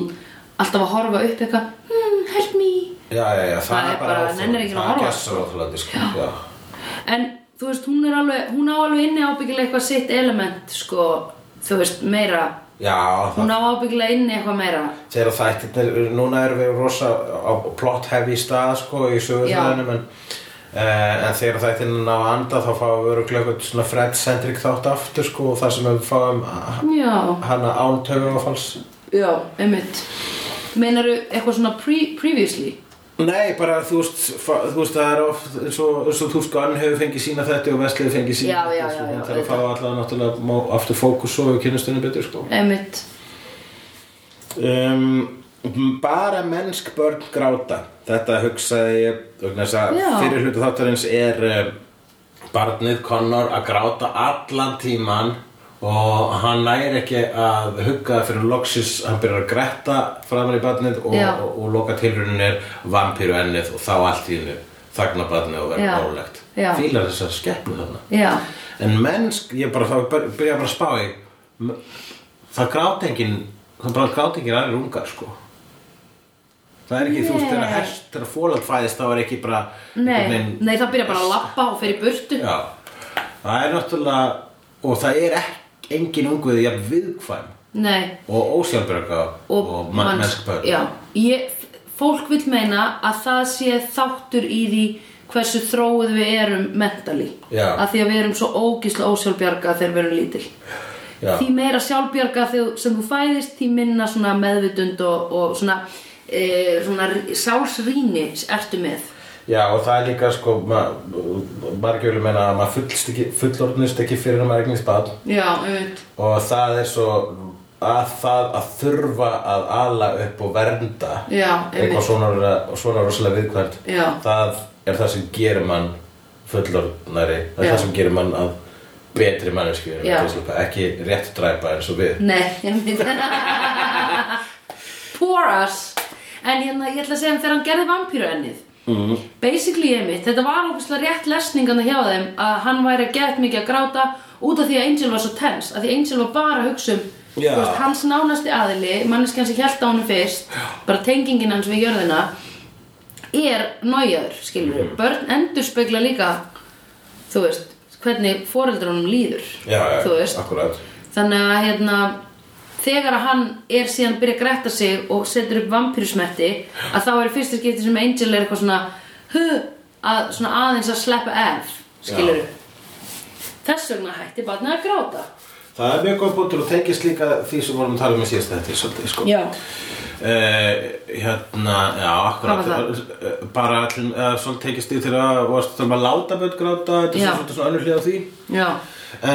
Speaker 1: alltaf að horfa upp eitthvað, hmm, help me.
Speaker 3: já, já, já það,
Speaker 1: Það er bara-
Speaker 3: óþolandi.
Speaker 1: nennir ekki að
Speaker 3: Það er
Speaker 1: horfa.
Speaker 3: gestur óþólandi, sko Já,
Speaker 1: En, þú veist, hún er alveg, hún á alveg inni ábyggilega eitthvað sitt element, sko, þú veist, meira,
Speaker 3: já það
Speaker 1: hún á ábyggilega inni eitthvað meira.
Speaker 3: Þegar þættirnir, núna erum við rosa á plot heavy stað sko í sögurfræðinum en, uh, en þegar þættirnir ná að anda þá fáum við örugglega eitthvað svona Fred-centric þátt aftur sko og það sem við fáum
Speaker 1: Já,
Speaker 3: hana án töfumafals
Speaker 1: já, einmitt. Meinaru eitthvað svona pre previously?
Speaker 3: Nei, bara þú veist, fa- þú veist það er oft eins og, eins og þú sko ann hefur fengið sína þetta og Veslið fengið sína
Speaker 1: Já, já,
Speaker 3: þetta, sko,
Speaker 1: já, já,
Speaker 3: Það er að fá
Speaker 1: auðvitað.
Speaker 3: allavega náttúrulega má, aftur fókus og við kynnast henni betur sko
Speaker 1: Einmitt.
Speaker 2: um, bara mennsk börn gráta þetta hugsaði ég vegna þess að
Speaker 1: Já.
Speaker 2: fyrir hlutu þáttarins er um, barnið Connor að gráta allan tíman og hann næri ekki að hugga fyrir loksis, hann byrjar að gretta framar í barnið og,
Speaker 1: Já.
Speaker 2: og, og loka tilraunin er vampíru ennið og þá allt í hennu þagna barnið og
Speaker 1: Já.
Speaker 2: verður rólegt
Speaker 1: Já.
Speaker 2: fílar þess að skeppna þarna
Speaker 1: Já,
Speaker 2: En mennsk, ég bara, þá byr- byrja bara að spá í m- Það gráti engin Það bara gráti engin aðrir ungar, sko Það er ekki, þú veist,
Speaker 1: Nei.
Speaker 2: þegar hest Þegar fólag fæðist, þá er ekki bara
Speaker 1: nei,
Speaker 2: einhvern veginn-
Speaker 1: nei, það byrja bara að lappa og fer í burtu.
Speaker 2: Já, það er náttúrulega Og það er ekki engin unguðið jafn viðkvæm
Speaker 1: Nei.
Speaker 2: Og ósjálfbjörga og, og man,
Speaker 1: manns-
Speaker 2: mennsk börn
Speaker 1: já, ég, fólk vil meina að það sé þáttur í því hversu þróið við erum mentali
Speaker 3: Já.
Speaker 1: að því að við erum svo ógislega ósjálfbjarga þegar við erum lítil
Speaker 3: Já.
Speaker 1: því meira sjálfbjarga þegar sem þú fæðist því minna svona meðvitund og, og svona, e, svona sálsrýni ertu með
Speaker 3: Já, og það er líka sko ma, margjölu meina að maður fullst ekki, fullorðnist ekki fyrir að maður eignist bad
Speaker 1: já, einmitt
Speaker 3: og það er svo að það að þurfa að ala upp og vernda
Speaker 1: Já, einmitt.
Speaker 3: eitthvað svona, svona rosalega viðkvæmt
Speaker 1: Já.
Speaker 3: það er það sem gerir mann fullorðnari það er
Speaker 1: Já.
Speaker 3: það sem gerir mann að betri manneski
Speaker 1: Já.
Speaker 3: ekki rétt dræpa eins og við
Speaker 1: Nei, ég veit Poor us En hérna, ég ætla að segja um þegar hann gerði vampíru ennið
Speaker 3: Mhm.
Speaker 1: mm. Basically ég mitt, þetta var ógustlega rétt lesningana hjá þeim að hann væri að gett mikið að gráta út af því að Angel var svo tens að því Angel var bara að hugsa um þú
Speaker 3: Já.
Speaker 1: veist, hans nánasti aðili, manneski hans sem hjælt á honum fyrst bara tengingin hans við jörðina er nájaður, skilur
Speaker 3: Mhm.
Speaker 1: við börn endur spekla líka þú veist, hvernig foreldrunum líður
Speaker 3: já, já,
Speaker 1: þú veist
Speaker 3: akkurat
Speaker 1: þannig að hérna þegar að hann er síðan að byrja að gretta sig og setur upp vampýrusmetti að þá er fyrsta skipti sem Angel er eitthvað svona huh, að, svona aðeins að sleppa af skilur þess vegna hætti barnið að gráta
Speaker 2: Það er mjög góð bútur og tengist líka því sem vorum að tala um í síðast þetta svolítið, sko.
Speaker 1: já,
Speaker 2: Eh, hérna, já,
Speaker 1: Hvað
Speaker 2: akkurat
Speaker 1: var
Speaker 2: Eh, bara allir, eða svolítið tekist í þegar að varst þarf að láta börn gráta þetta er
Speaker 1: Já.
Speaker 2: svolítið svona önnur hlið á því
Speaker 1: já,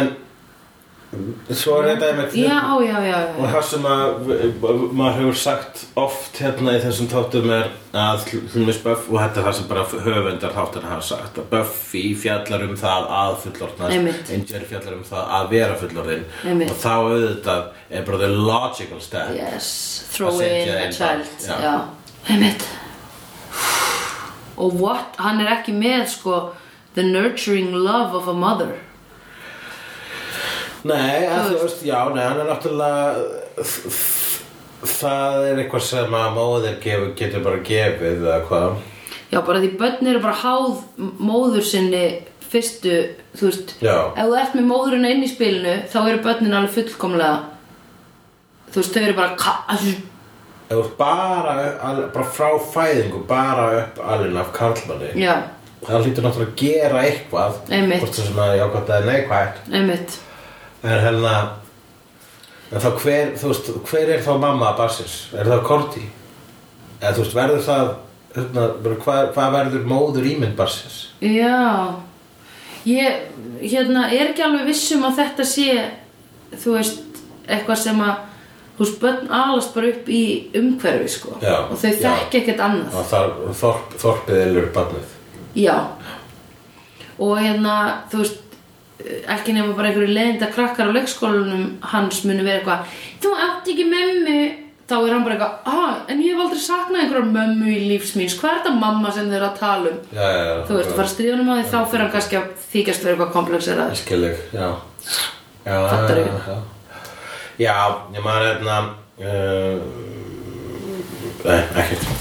Speaker 2: en svo er þetta einmitt
Speaker 1: já, já, já, já.
Speaker 2: og það sem að maður hefur sagt oft hérna í þessum þáttum er að hlumis Buff og þetta er það sem bara höfundar þáttan hafa sagt að Buffy fjallar um það að fullorðnast
Speaker 1: Einmitt.
Speaker 2: Angel fjallar um það að vera fullorðin
Speaker 1: Einmitt.
Speaker 2: og þá auðvitað er bara the logical step
Speaker 1: yes, throw
Speaker 2: Að setja
Speaker 1: in a
Speaker 2: inn barn,
Speaker 1: child
Speaker 2: já.
Speaker 1: já, heimitt og what, hann er ekki með sko the nurturing love of a mother
Speaker 2: Nei, að
Speaker 1: Þú
Speaker 2: þú veist, já, nei, hann er náttúrulega það er eitthvað sem að móðir gefur, getur bara gefið eða hvað
Speaker 1: Já, bara því börn eru bara háð m- móður sinni fyrstu, þú veist
Speaker 3: Já.
Speaker 1: Ef þú ert með móðurinn inn í spilinu þá eru börnin alveg fullkomlega þú veist, þau eru bara ka-
Speaker 3: Ef þú ert bara, al- bara frá fæðingu bara upp alveg af karlmanni
Speaker 1: Já,
Speaker 3: það hlýtur náttúrulega að gera eitthvað
Speaker 1: Einmitt.
Speaker 3: hvort sem að ég ákvæmt að það er neikvægt
Speaker 1: einmitt
Speaker 2: en hérna en þá hver, þú veist, hver er þá mamma bassins? Er það Korti? Eða þú veist, verður það hérna, bara hvað, hvað verður móður ímynd bassins?
Speaker 1: Já Ég hérna, er ekki alveg viss um að þetta sé þú veist, eitthvað sem að þú veist, börn alast bara upp í umhverfi sko
Speaker 2: Já,
Speaker 1: og þau
Speaker 2: já.
Speaker 1: þekki ekkert annað
Speaker 2: Og þar, þorp, þorpið elur barnið
Speaker 1: Já og hérna, þú veist ekki nema bara einhverju leiðinda krakkar á leikskólanum hans muni vera eitthvað þú átt ekki mömmu þá er hann bara eitthvað, ah, en ég hef aldrei saknað einhverjar mömmu í lífs míns hvað er þetta mamma sem þau eru að tala um
Speaker 2: Já, já, já
Speaker 1: þú veist,
Speaker 2: já.
Speaker 1: fara stríðunum að því þá fyrir hann kannski að þykjast vera eitthvað komplexeraður
Speaker 2: Skilleg, já Já,
Speaker 1: Fattar
Speaker 2: já,
Speaker 1: ekki.
Speaker 2: já. já, ég maður hérna uh, Nei, ekkert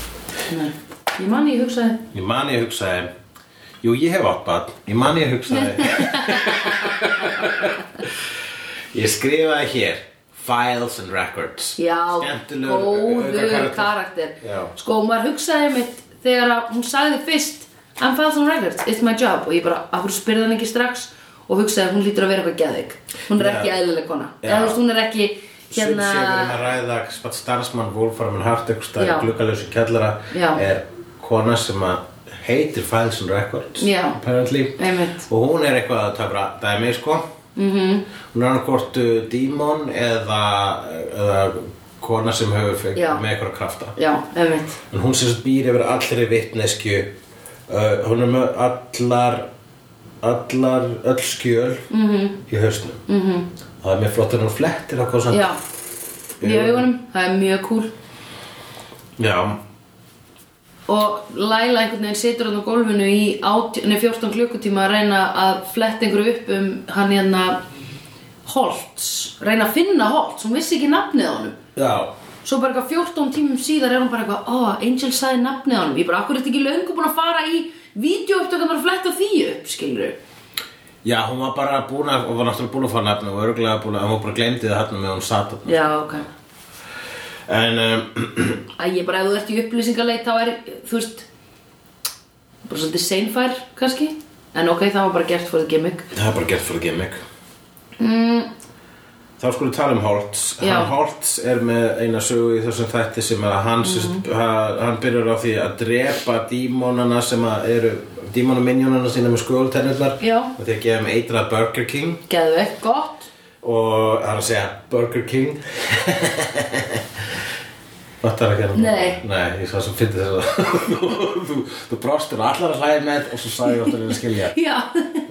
Speaker 1: Nei, ég man ég hugsaði
Speaker 2: Ég man ég hugsaði Jú, ég hef átt barn Ég man
Speaker 1: <laughs>
Speaker 2: ég hugsaði Ég skrifaði hér Files and Records
Speaker 1: Já,
Speaker 2: Skemmtilegur
Speaker 1: góður
Speaker 2: aukakarakter.
Speaker 1: karakter
Speaker 2: Já.
Speaker 1: Sko, maður hugsaði mitt þegar að hún sagði fyrst I'm files on records, it's my job og ég bara, af hverju spyrði hann ekki strax og hugsaði hún lítur að vera eitthvað geðig hún er
Speaker 2: Já.
Speaker 1: ekki eðlileg kona
Speaker 2: Já.
Speaker 1: eða þú veist, hún er ekki
Speaker 2: Hérna...
Speaker 1: hérna
Speaker 2: Sveitsjöfurinn að ræða spatt starfsmann Wolframin Hartegstæð
Speaker 1: Já.
Speaker 2: gluggalösu kjallara
Speaker 1: Já.
Speaker 2: er kona sem að heitir Files and Records
Speaker 1: Já.
Speaker 2: apparently
Speaker 1: Einmitt. Mhm.
Speaker 2: og hún er eitthvað að töfra dæmi sko mm -hmm. hún er hann hvort dímon eða, eða kona sem hefur fekk
Speaker 1: Já.
Speaker 2: með eitthvað krafta
Speaker 1: Já, einmitt
Speaker 2: en hún sem sagt býr yfir allri vitneskju uh, hún er með allar allar, öll skjöl -hmm.
Speaker 1: Mhm.
Speaker 2: í hausnum mm -hmm. það er mjög flott en hún flettir á hvað svona
Speaker 1: Já, í augunum, það er mjög cool
Speaker 2: Já,
Speaker 1: og Laila einhvern veginn situr hann á gólfinu í átjó- nei, 14 klukkutíma að reyna að fletta einhverju upp um hann hérna Holtz, reyna að finna Holtz hún vissi ekki nafnið á honum
Speaker 2: já,
Speaker 1: svo bara eitthvað 14 tímum síðar er hún bara eitthvað ó, Angel sagði nafnið á honum ég bara, akkur er þetta ekki löngu búin að fara í vídeouptökunar og fletta því upp, skilur
Speaker 2: já, hún var bara búin að, hún var náttúrulega búin að fá nafni og örgulega búin að, hún bara glemdi það hann með hún satt þarna.
Speaker 1: já, ok
Speaker 2: En, um,
Speaker 1: að ég bara, ef þú ert í upplýsingarleit þá er, þú veist bara svolítið seinfær, kannski en ok, það var bara gert for the gimmick
Speaker 2: <clears throat> það er bara gert fyrir gimmick. Mm. Þá skulum við tala um Holtz.
Speaker 1: Já.
Speaker 2: Hann Holtz er með eina sögu í þessum þætti sem að hann, mm
Speaker 1: Mhm.
Speaker 2: -hmm. hann byrjar á því að drepa dímonana sem að eru, dímonaminjónana sína með skjóltennirnar.
Speaker 1: Já.
Speaker 2: Og því að gefa þeim eitrað Burger King.
Speaker 1: geðu eitthvað gott <laughs>
Speaker 2: Og það er að segja Burger King Þetta er ekki hérna
Speaker 1: Nei.
Speaker 2: Nei, ég svo sem fyndi þess að þú- þú, þú brostir og allar að hlæði með og svo sagði ég óttar að skilja
Speaker 1: já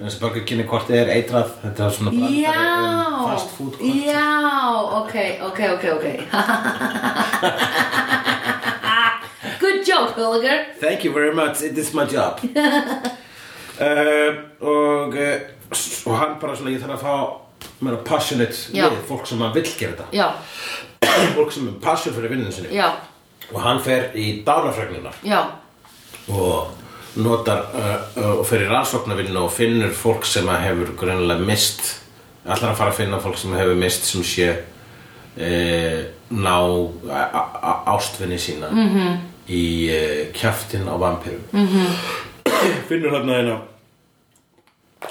Speaker 2: Þessi Burger King er hvort þið er eitrað Þetta er svona brandari
Speaker 1: Já,
Speaker 2: um fast food hvort.
Speaker 1: já, ok, ok, ok, ok
Speaker 2: <laughs>
Speaker 1: Good joke, Gulliger
Speaker 2: Thank you very much, it is
Speaker 1: <laughs>
Speaker 2: my job uh, og, uh, s- og hann bara svona ég þarf að fá meira passionate
Speaker 1: Já.
Speaker 2: við fólk sem að vill gera þetta
Speaker 1: Já,
Speaker 2: fólk sem er passion fyrir vinninu sinni
Speaker 1: já,
Speaker 2: og hann fer í dánafregnunar
Speaker 1: já,
Speaker 2: og notar uh, uh, og fyrir rannsóknarvinnu og finnur fólk sem að hefur grunlega mist allar að fara að finna fólk sem hefur mist sem sé uh, ná a- a- a- ástvinni sína -hmm. í uh, kjaftin á vampirum -hmm. <clears throat> finnur hann aðeina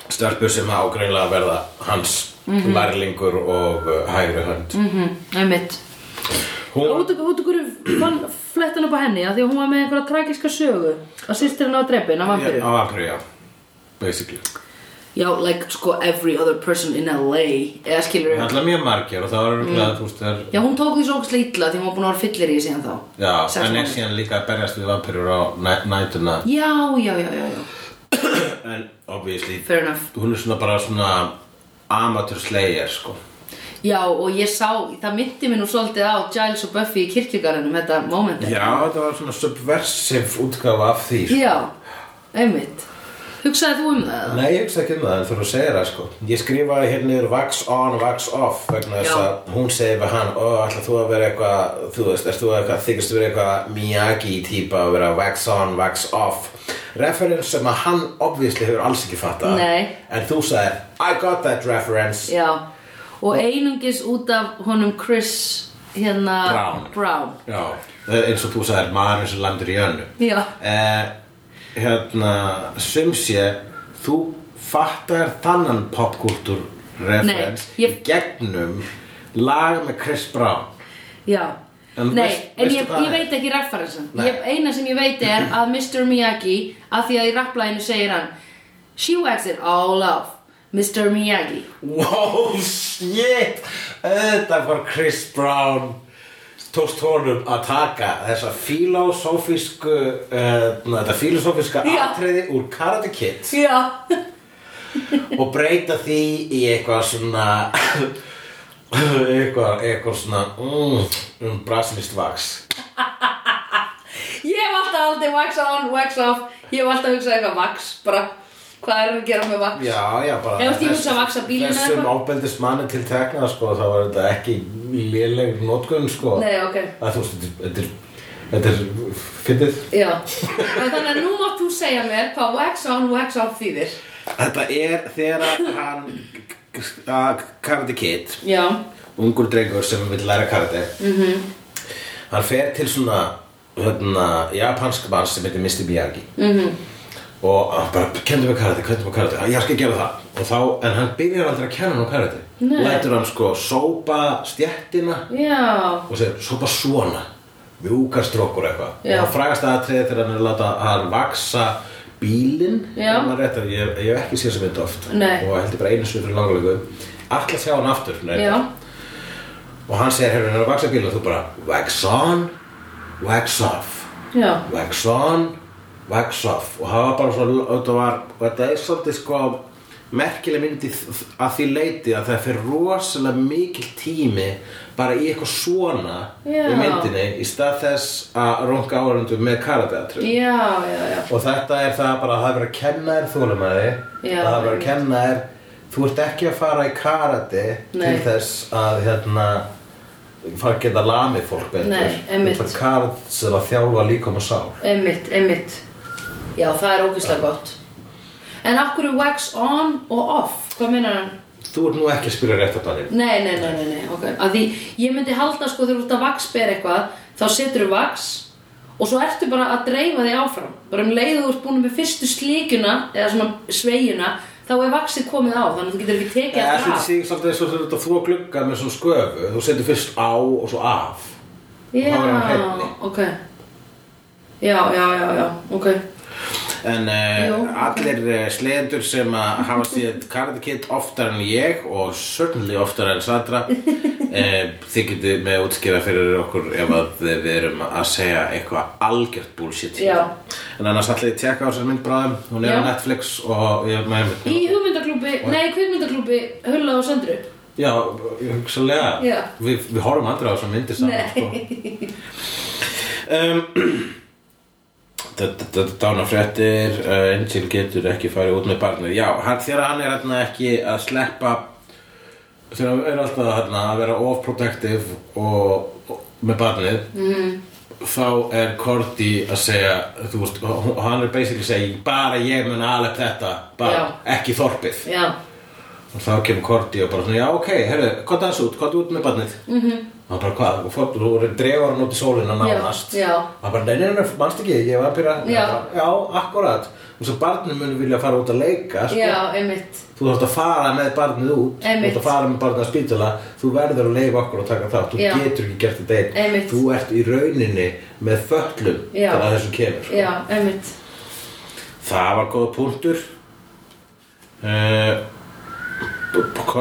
Speaker 2: stelpu sem á grunlega að verða hans lærlingur og uh, hægri hönd mm -hmm.
Speaker 1: einmitt
Speaker 2: hún,
Speaker 1: Mhm. Út og út og hverju fann flettan upp á henni af því að hún var með einhverja tragiska sögu að sýstir henni á drefin, á
Speaker 2: á
Speaker 1: vampiru
Speaker 2: vampiru, já basically
Speaker 1: Já, like, sko, every other person in LA eða skilur
Speaker 2: Það er alltaf mjög margir og það var mm. þú veist, það er
Speaker 1: Já, hún tók því svo ógæslega illa því hún var búin að vera fyllir í síðan þá
Speaker 2: Já,
Speaker 1: Sex
Speaker 2: hann er
Speaker 1: mánuði.
Speaker 2: síðan líka að berjast við vampirur á næ- nætuna
Speaker 1: Já, já, já, já, já
Speaker 2: En obviously
Speaker 1: Fair enough
Speaker 2: Hún er svona bara svona amateur slayer sko
Speaker 1: Já, og ég sá, það myndi mér nú svolítið á Giles og Buffy í kirkjugarðinum þetta moment
Speaker 2: Já, þetta var svona subversive útgáfa af því sko.
Speaker 1: Já, einmitt Hugsaði þú um það?
Speaker 2: Nei, ég hugsa ekki um það, en þú eru að segja það sko Ég skrifaði hér niður wax on, wax off vegna þess
Speaker 1: Já.
Speaker 2: að hún segir við hann Ó, ætla þú að vera eitthvað, þú veist, ert þú eitthvað þykist vera eitthvað Miyagi típa að vera wax on, wax off Reference sem að hann obviously hefur alls ekki fattað
Speaker 1: Nei.
Speaker 2: En þú sagði, I got that reference
Speaker 1: Já, og einungis út af honum Chris hérna
Speaker 2: Brown.
Speaker 1: Brown.
Speaker 2: Já, eins og þú sagðir maður sem landur í önnu
Speaker 1: Já,
Speaker 2: eh, Hérna, sem sé þú fattar þannan popkultúr reference
Speaker 1: Nei, ég-
Speaker 2: í gegnum lag með Chris Brown
Speaker 1: Já,
Speaker 2: En
Speaker 1: nei,
Speaker 2: veist-
Speaker 1: en
Speaker 2: veistu
Speaker 1: ég,
Speaker 2: hvað
Speaker 1: ég
Speaker 2: það er?
Speaker 1: veit ekki referensin
Speaker 2: Nei.
Speaker 1: ég, Eina sem ég veit er að Mr. Miyagi að því að í rapplæginu segir hann She wags it all off Mr. Miyagi
Speaker 2: Wow, shit Þetta var Chris Brown tókst honum að taka þessa filosófísku uh, þetta filosófíska
Speaker 1: Já.
Speaker 2: atriði úr Karate Kid
Speaker 1: Já,
Speaker 2: og breyta því í eitthvað svona eitthvað, eitthvað svona mm, um brasilist vaks
Speaker 1: ég hef alltaf aldrei wax on, wax off Ég hef alltaf hugsað eitthvað wax bara Hvað er að gera með wax?
Speaker 2: já, já, bara
Speaker 1: Ef þú ert í hugsa að vaxa bílinn eða
Speaker 2: þessum
Speaker 1: eitthvað?
Speaker 2: ábældist manni til tekna sko, þá var þetta ekki léleg notkun sko.
Speaker 1: Nei, ok
Speaker 2: að þú veist, þetta er- þetta er þetta er fyndið
Speaker 1: Já, en þannig að nú mátt þú segja mér hvað wax on, wax off þýðir
Speaker 2: þetta er þegar að hann að Karate Kid
Speaker 1: Já,
Speaker 2: ungur drengur sem vil læra karate -hmm.
Speaker 1: Mhm.
Speaker 2: hann fer til svona hérna, japansk mann sem heitir Mr. Miyagi -hmm.
Speaker 1: Mhm.
Speaker 2: og hann bara kendur mig karate, kendur mig karate "Já, ég skal gera það og þá, en hann byrjar aldrei að kenna hann á karate
Speaker 1: Nei.
Speaker 2: lætur hann sko sópa stjettina
Speaker 1: já,
Speaker 2: og segir sópa svona mjúkastrókur eitthvað
Speaker 1: Já.
Speaker 2: og það frægast aðtriði þegar hann er að láta hann vaksa bílinn
Speaker 1: Já.
Speaker 2: ef maður rétt er- ég, ég hef ekki séð sem mynd oft
Speaker 1: Nei.
Speaker 2: og heldur bara einu sinni fyrir langalegu alltaf sjá hann aftur nei,
Speaker 1: já
Speaker 2: og hann segir hérna er að vaxa bíl og þú bara wax on, wax off
Speaker 1: Já,
Speaker 2: wax on, wax off og það var bara svo þetta, var, þetta er svolítið sko merkileg myndi að því leiti að það fer rosalega mikil tími bara í eitthvað svona
Speaker 1: Já.
Speaker 2: í myndinni í stað þess að runga áhörundu með karateatri
Speaker 1: já, já, já
Speaker 2: og þetta er það bara að það er verið að kenna þér þólumæði
Speaker 1: Já,
Speaker 2: það er verið að
Speaker 1: einmitt.
Speaker 2: kenna þér þú ert ekki að fara í karate til
Speaker 1: Nei.
Speaker 2: þess að hérna fara að geta lamið fólk betur
Speaker 1: Nei, einmitt.
Speaker 2: þú ert karate sem að þjálfa líkom og sál
Speaker 1: Einmitt, einmitt Já, það er ógeðslega gott En af hverju wax on og off? Hvað meinar hann?
Speaker 2: þú ert nú ekki að spyrja rétt á daginn
Speaker 1: Nei, nei, nei, nei, nei, ok Að því ég myndi halda sko þegar þú ert að vaxbera eitthvað Þá setur þú vax Og svo ertu bara að dreifa því áfram Bara um leiðu þú ert búin með fyrstu slíkuna Eða svona sveigjuna Þá er vaxið komið á, þannig að þú getur ekki tekið
Speaker 2: það
Speaker 1: aftur
Speaker 2: er
Speaker 1: af
Speaker 2: svolítið svolítið svo þú ert að þvó glugga með svona sköfu þú setur fyrst á og svo af
Speaker 1: Já,
Speaker 2: þá er hann hreinni.
Speaker 1: ok Já, já, já, já, ok
Speaker 2: En uh,
Speaker 1: Jú.
Speaker 2: allir uh, sleiðendur sem að hafa séð Karate Kid oftar en ég og certainly oftar en
Speaker 1: <laughs>
Speaker 2: Sandra uh, þið getið með útskýra fyrir okkur ef að við erum að segja eitthvað algjört bullshit hér.
Speaker 1: Já.
Speaker 2: En annars ætla ég að tjekka á þessar myndbráðum hún er
Speaker 1: Já.
Speaker 2: á Netflix og ég með
Speaker 1: Í hugmyndaklúbi, nei, kvikmyndaklúbi Hulla og Söndru
Speaker 2: Já, hugsalega
Speaker 1: Já.
Speaker 2: Við, við horfum aldrei á þessar myndir saman
Speaker 1: Nei.
Speaker 2: sko. um, Dánafréttir uh, Angel getur ekki farið út með barnið Já, hann, þegar hann er hérna ekki að sleppa þegar hann er alltaf hérna, að vera off-protective og, og með barnið mm. þá er Korti að segja þú veist, hún- hann er basically að segja bara ég mun alveg þetta bara, ekki þorpið
Speaker 1: Já,
Speaker 2: og þá kemur Korti og bara svona, já ok, herru, hvað það út, hvað út með barnið mm -hmm. og hann bara hvað, og fór, þú voru dregur hann út í sólina nánast
Speaker 1: Mhm. Já, já.
Speaker 2: og hann bara, nei, nei, nei, manst ekki, ég var að byrja
Speaker 1: Já.
Speaker 2: Hann bara, já, akkurat, og svo barnið muni vilja fara út að leika sko.
Speaker 1: já, einmitt
Speaker 2: þú þarft að fara með barnið út þú
Speaker 1: Einmitt.
Speaker 2: þarft að fara með barnið að spítala þú verður að leifa okkur og taka þátt þú
Speaker 1: Já.
Speaker 2: getur ekki gert þetta einn
Speaker 1: Einmitt.
Speaker 2: þú ert í rauninni með föllum
Speaker 1: Já.
Speaker 2: þegar að þessu kemur sko.
Speaker 1: Já, einmitt
Speaker 2: það var góða punktur uh,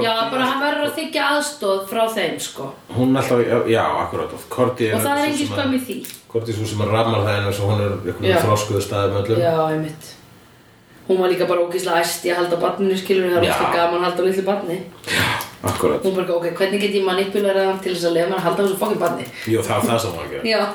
Speaker 1: Já, bara hann verður að þykja aðstóð frá þeim, sko
Speaker 2: hún er alltaf, já, já akkurát og Korti er
Speaker 1: Og það er
Speaker 2: sú
Speaker 1: engin
Speaker 2: sem
Speaker 1: skömm í því
Speaker 2: Korti er svo sem að rammar það en þess að hún er
Speaker 1: Já.
Speaker 2: einhvern þroskuðu staði með öllum
Speaker 1: Já, einmitt Hún var líka bara ógeðslega æst í að halda barninu skilur Það er
Speaker 2: Já.
Speaker 1: ógeðslega gaman að halda á litlu barni
Speaker 2: akkurát,
Speaker 1: Hún bara, ok, hvernig get ég manipulera hann til þess að lefa hann að halda á þessu fokkin barni
Speaker 2: jú það var það sem hún var að gera
Speaker 1: Já, <laughs>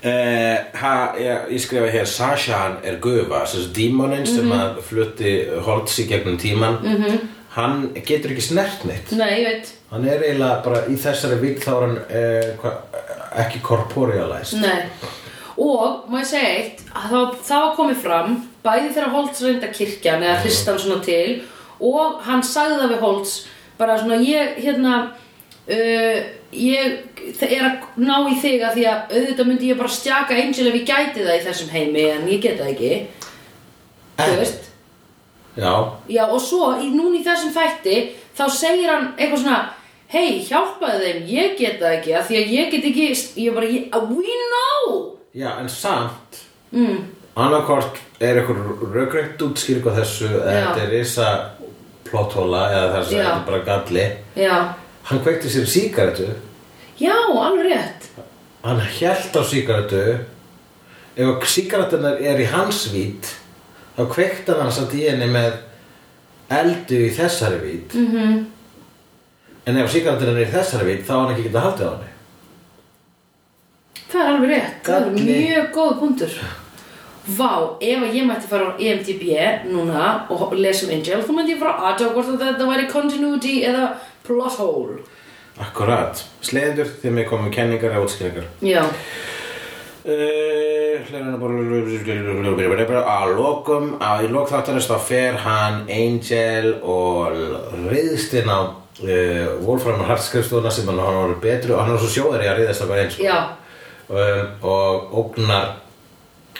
Speaker 2: Eh, ha, ég, ég skrifa hér Sashan er gufa, þessi dímonin
Speaker 1: Mhm.
Speaker 2: sem að flutti Holtz í gegnum tíman -hmm. hann getur ekki snert neitt
Speaker 1: nei, ég veit
Speaker 2: hann er eiginlega bara í þessari vík þá er hann eh, hva, ekki korporealæst
Speaker 1: Nei Og, má ég segja eitt, að það, það var komið fram Bæði þegar Holtz reynda kirkjan eða hrist hann svona til Og hann sagði það við Holtz Bara svona, ég, hérna uh, Ég þe- er að ná í þig að því að auðvitað myndi ég bara stjaka Angel ef ég gæti það í þessum heimi En ég geta það ekki Þú
Speaker 2: En-
Speaker 1: veist
Speaker 2: já,
Speaker 1: Já, og svo í, núna í þessum þætti þá segir hann eitthvað svona Hei, hjálpaði þeim, ég get það ekki af því að ég get ekki, ég bara, ég, we know
Speaker 2: já, en samt mm. annarkort er eitthvað raugrænt útskýring á þessu eða
Speaker 1: Já.
Speaker 2: þetta er risa plotthóla eða þess að
Speaker 1: Já.
Speaker 2: þetta er bara galli
Speaker 1: Já,
Speaker 2: hann kveikti sér sígarettu
Speaker 1: já, alveg rétt
Speaker 2: hann hjælt á sígarettu ef sígarettunar er í hans vít þá kveikti hann satt í henni með eldu í þessari vít mm -hmm.
Speaker 1: Mhm.
Speaker 2: en ef sígarettunar er í þessari vít þá á hann ekki geta haldið á henni
Speaker 1: Það er alveg rétt, það er
Speaker 2: Galli.
Speaker 1: mjög góð punktur Vá, ef að ég mætti fara á E EMDB núna og lesa um Angel þá mætti ég fara að aðtöga hvort að þetta væri continuity eða plot hole
Speaker 2: Akkurat, sleiður þegar við komum með kenningar eða útskýringar
Speaker 1: Já,
Speaker 2: Eh, hlera bara- að lokum að í lok þáttarins þá fer hann Angel og reyðst inn á uh, Wolfram og Hartskrifstúna sem hann hann var betri og hann var svo sjóðari að reyðast að bara eins
Speaker 1: já,
Speaker 2: um, og ógnar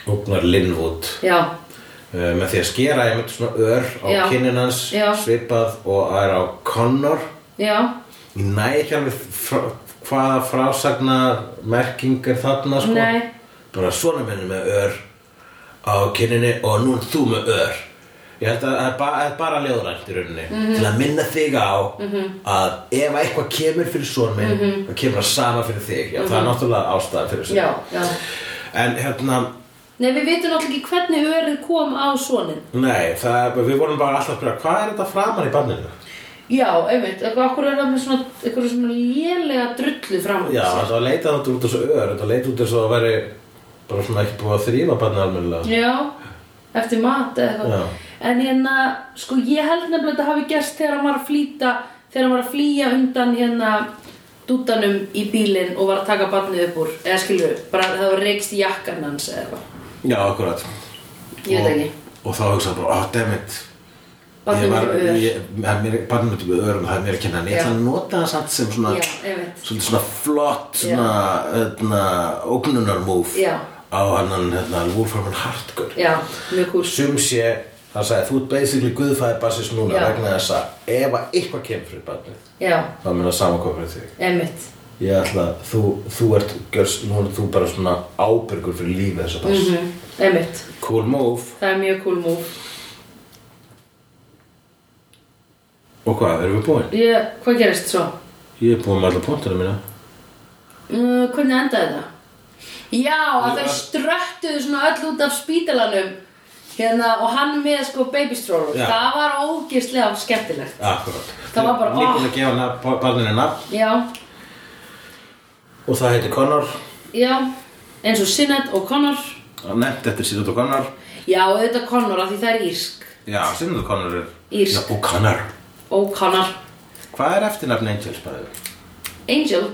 Speaker 2: ógnar Linwood
Speaker 1: já,
Speaker 2: uh, með því að skera einmitt svona ör á
Speaker 1: Já.
Speaker 2: kinnin hans
Speaker 1: Já.
Speaker 2: svipað og að er á Connor
Speaker 1: já
Speaker 2: ég næ ekki alveg frá, hvaða frásagna merking er þarna sko
Speaker 1: Nei.
Speaker 2: bara svona minni með ör á kynninni og nú er þú með ör ég held að það er ba- það er bara ljóðrænt í rauninni
Speaker 1: Mhm.
Speaker 2: til að minna þig á að ef eitthvað kemur fyrir svona minn þá kemur það sama fyrir þig já, það er náttúrulega ástæðan fyrir þessu
Speaker 1: Mhm. Já, já
Speaker 2: en hérna,
Speaker 1: Nei, við veitum náttúrulega ekki hvernig örið kom á sonin
Speaker 2: nei, það, er- við vorum bara alltaf að spyrja hvað er þetta framan í banninu?
Speaker 1: Já, einmitt, okkur er það með svona eitthvað svona lélega drullu fram
Speaker 2: Já, þetta var leitað þetta út þessu ör þetta leit út þessu að veri bara svona ekki búið að þrýfa barnið almennilega
Speaker 1: Já, eftir mat eða
Speaker 2: Já.
Speaker 1: eitthvað En hérna, sko ég held nefnilega að þetta hafi gerst þegar hann var að flýta þegar hann var að flýja undan hérna dútanum í bílinn og var að taka barnið upp úr eða skilur, bara það var reykst í jakkan hans eða eitthvað
Speaker 2: Já, akkurat
Speaker 1: Ég veit
Speaker 2: Og-
Speaker 1: ekki.
Speaker 2: Og þá hugsaði bara, oh damn it
Speaker 1: Barnið
Speaker 2: Ég var-
Speaker 1: mitt við ör.
Speaker 2: ég- það er mér- Barnið mitt við örum, það er mér að kenna en ég
Speaker 1: Já.
Speaker 2: ætla að nota það samt sem svona
Speaker 1: Já, einmitt.
Speaker 2: svolítið svona flott svona, öðna, ógnunar múf
Speaker 1: Já.
Speaker 2: á hann, hérna, Wolfram and Hartgur
Speaker 1: Já, mjög kúl
Speaker 2: Sum sé, hann sagði, þú ert basically guðfæði basis núna
Speaker 1: Já.
Speaker 2: vegna þess að ef að eitthvað kemur fyrir barnið
Speaker 1: Já,
Speaker 2: þá mun að samankofa fyrir þig
Speaker 1: einmitt
Speaker 2: Ég ætla að þú, þú ert, görs, nú er þú bara svona ábyrgur fyrir lífið þess að pass.
Speaker 1: mm, Einmitt,
Speaker 2: Cool move.
Speaker 1: það er mjög kúl múf
Speaker 2: Og hvað, erum við búin?
Speaker 1: Ég, hvað gerist svo?
Speaker 2: Ég er búin með alla póntuna mína.
Speaker 1: Uh, hvernig endaði þetta? Já, að
Speaker 2: Ég
Speaker 1: þau
Speaker 2: var-
Speaker 1: ströttuðu svona öll út af spítalanum hérna, og hann með sko baby stroller
Speaker 2: Já.
Speaker 1: það var ógeðslega skemmtilegt
Speaker 2: Akkurát.
Speaker 1: Það var bara,
Speaker 2: Nýbúin
Speaker 1: ah.
Speaker 2: að gefa nafn, barninu nafn
Speaker 1: Já,
Speaker 2: og það heitir Connor.
Speaker 1: já eins og Sinet og Connor
Speaker 2: Nefnt eftir Sinudu Connor.
Speaker 1: Já, þetta Connor af því það er írsk
Speaker 2: Já, Sinudu Connor er...
Speaker 1: Írsk.
Speaker 2: Já, og Connor.
Speaker 1: og Connor
Speaker 2: Hvað er eftirnafn Angels bæðið?
Speaker 1: Angel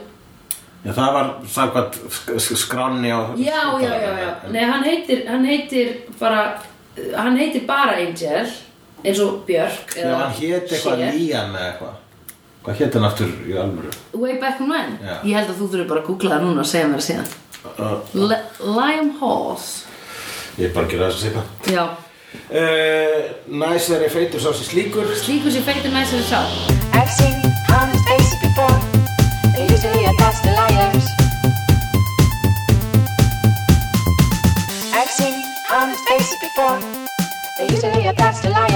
Speaker 2: Já, það var sagðvægt sk sk skránni á...
Speaker 1: Já, já, já, já Nei, hann heitir, hann heitir bara hann heitir bara Angel eins og Björk
Speaker 2: Já, hann hét eitthvað
Speaker 1: Cher.
Speaker 2: Liam eða eitthvað. Hvað hét hann aftur í alvöru?
Speaker 1: Way back when
Speaker 2: Já.
Speaker 1: Ég held að þú þurfir bara að googla það núna og segja mér það síðan
Speaker 2: Uh,
Speaker 1: L- Lime Horse
Speaker 2: ég er bara að gera þess að segja.
Speaker 1: Já
Speaker 2: Uh, næs er ég feitur sá sem slíkur
Speaker 1: Slíkur sér feitur næsir sá
Speaker 5: I've seen honest faces before. They usually are past the liars. I've seen honest faces before. They usually are past the liars.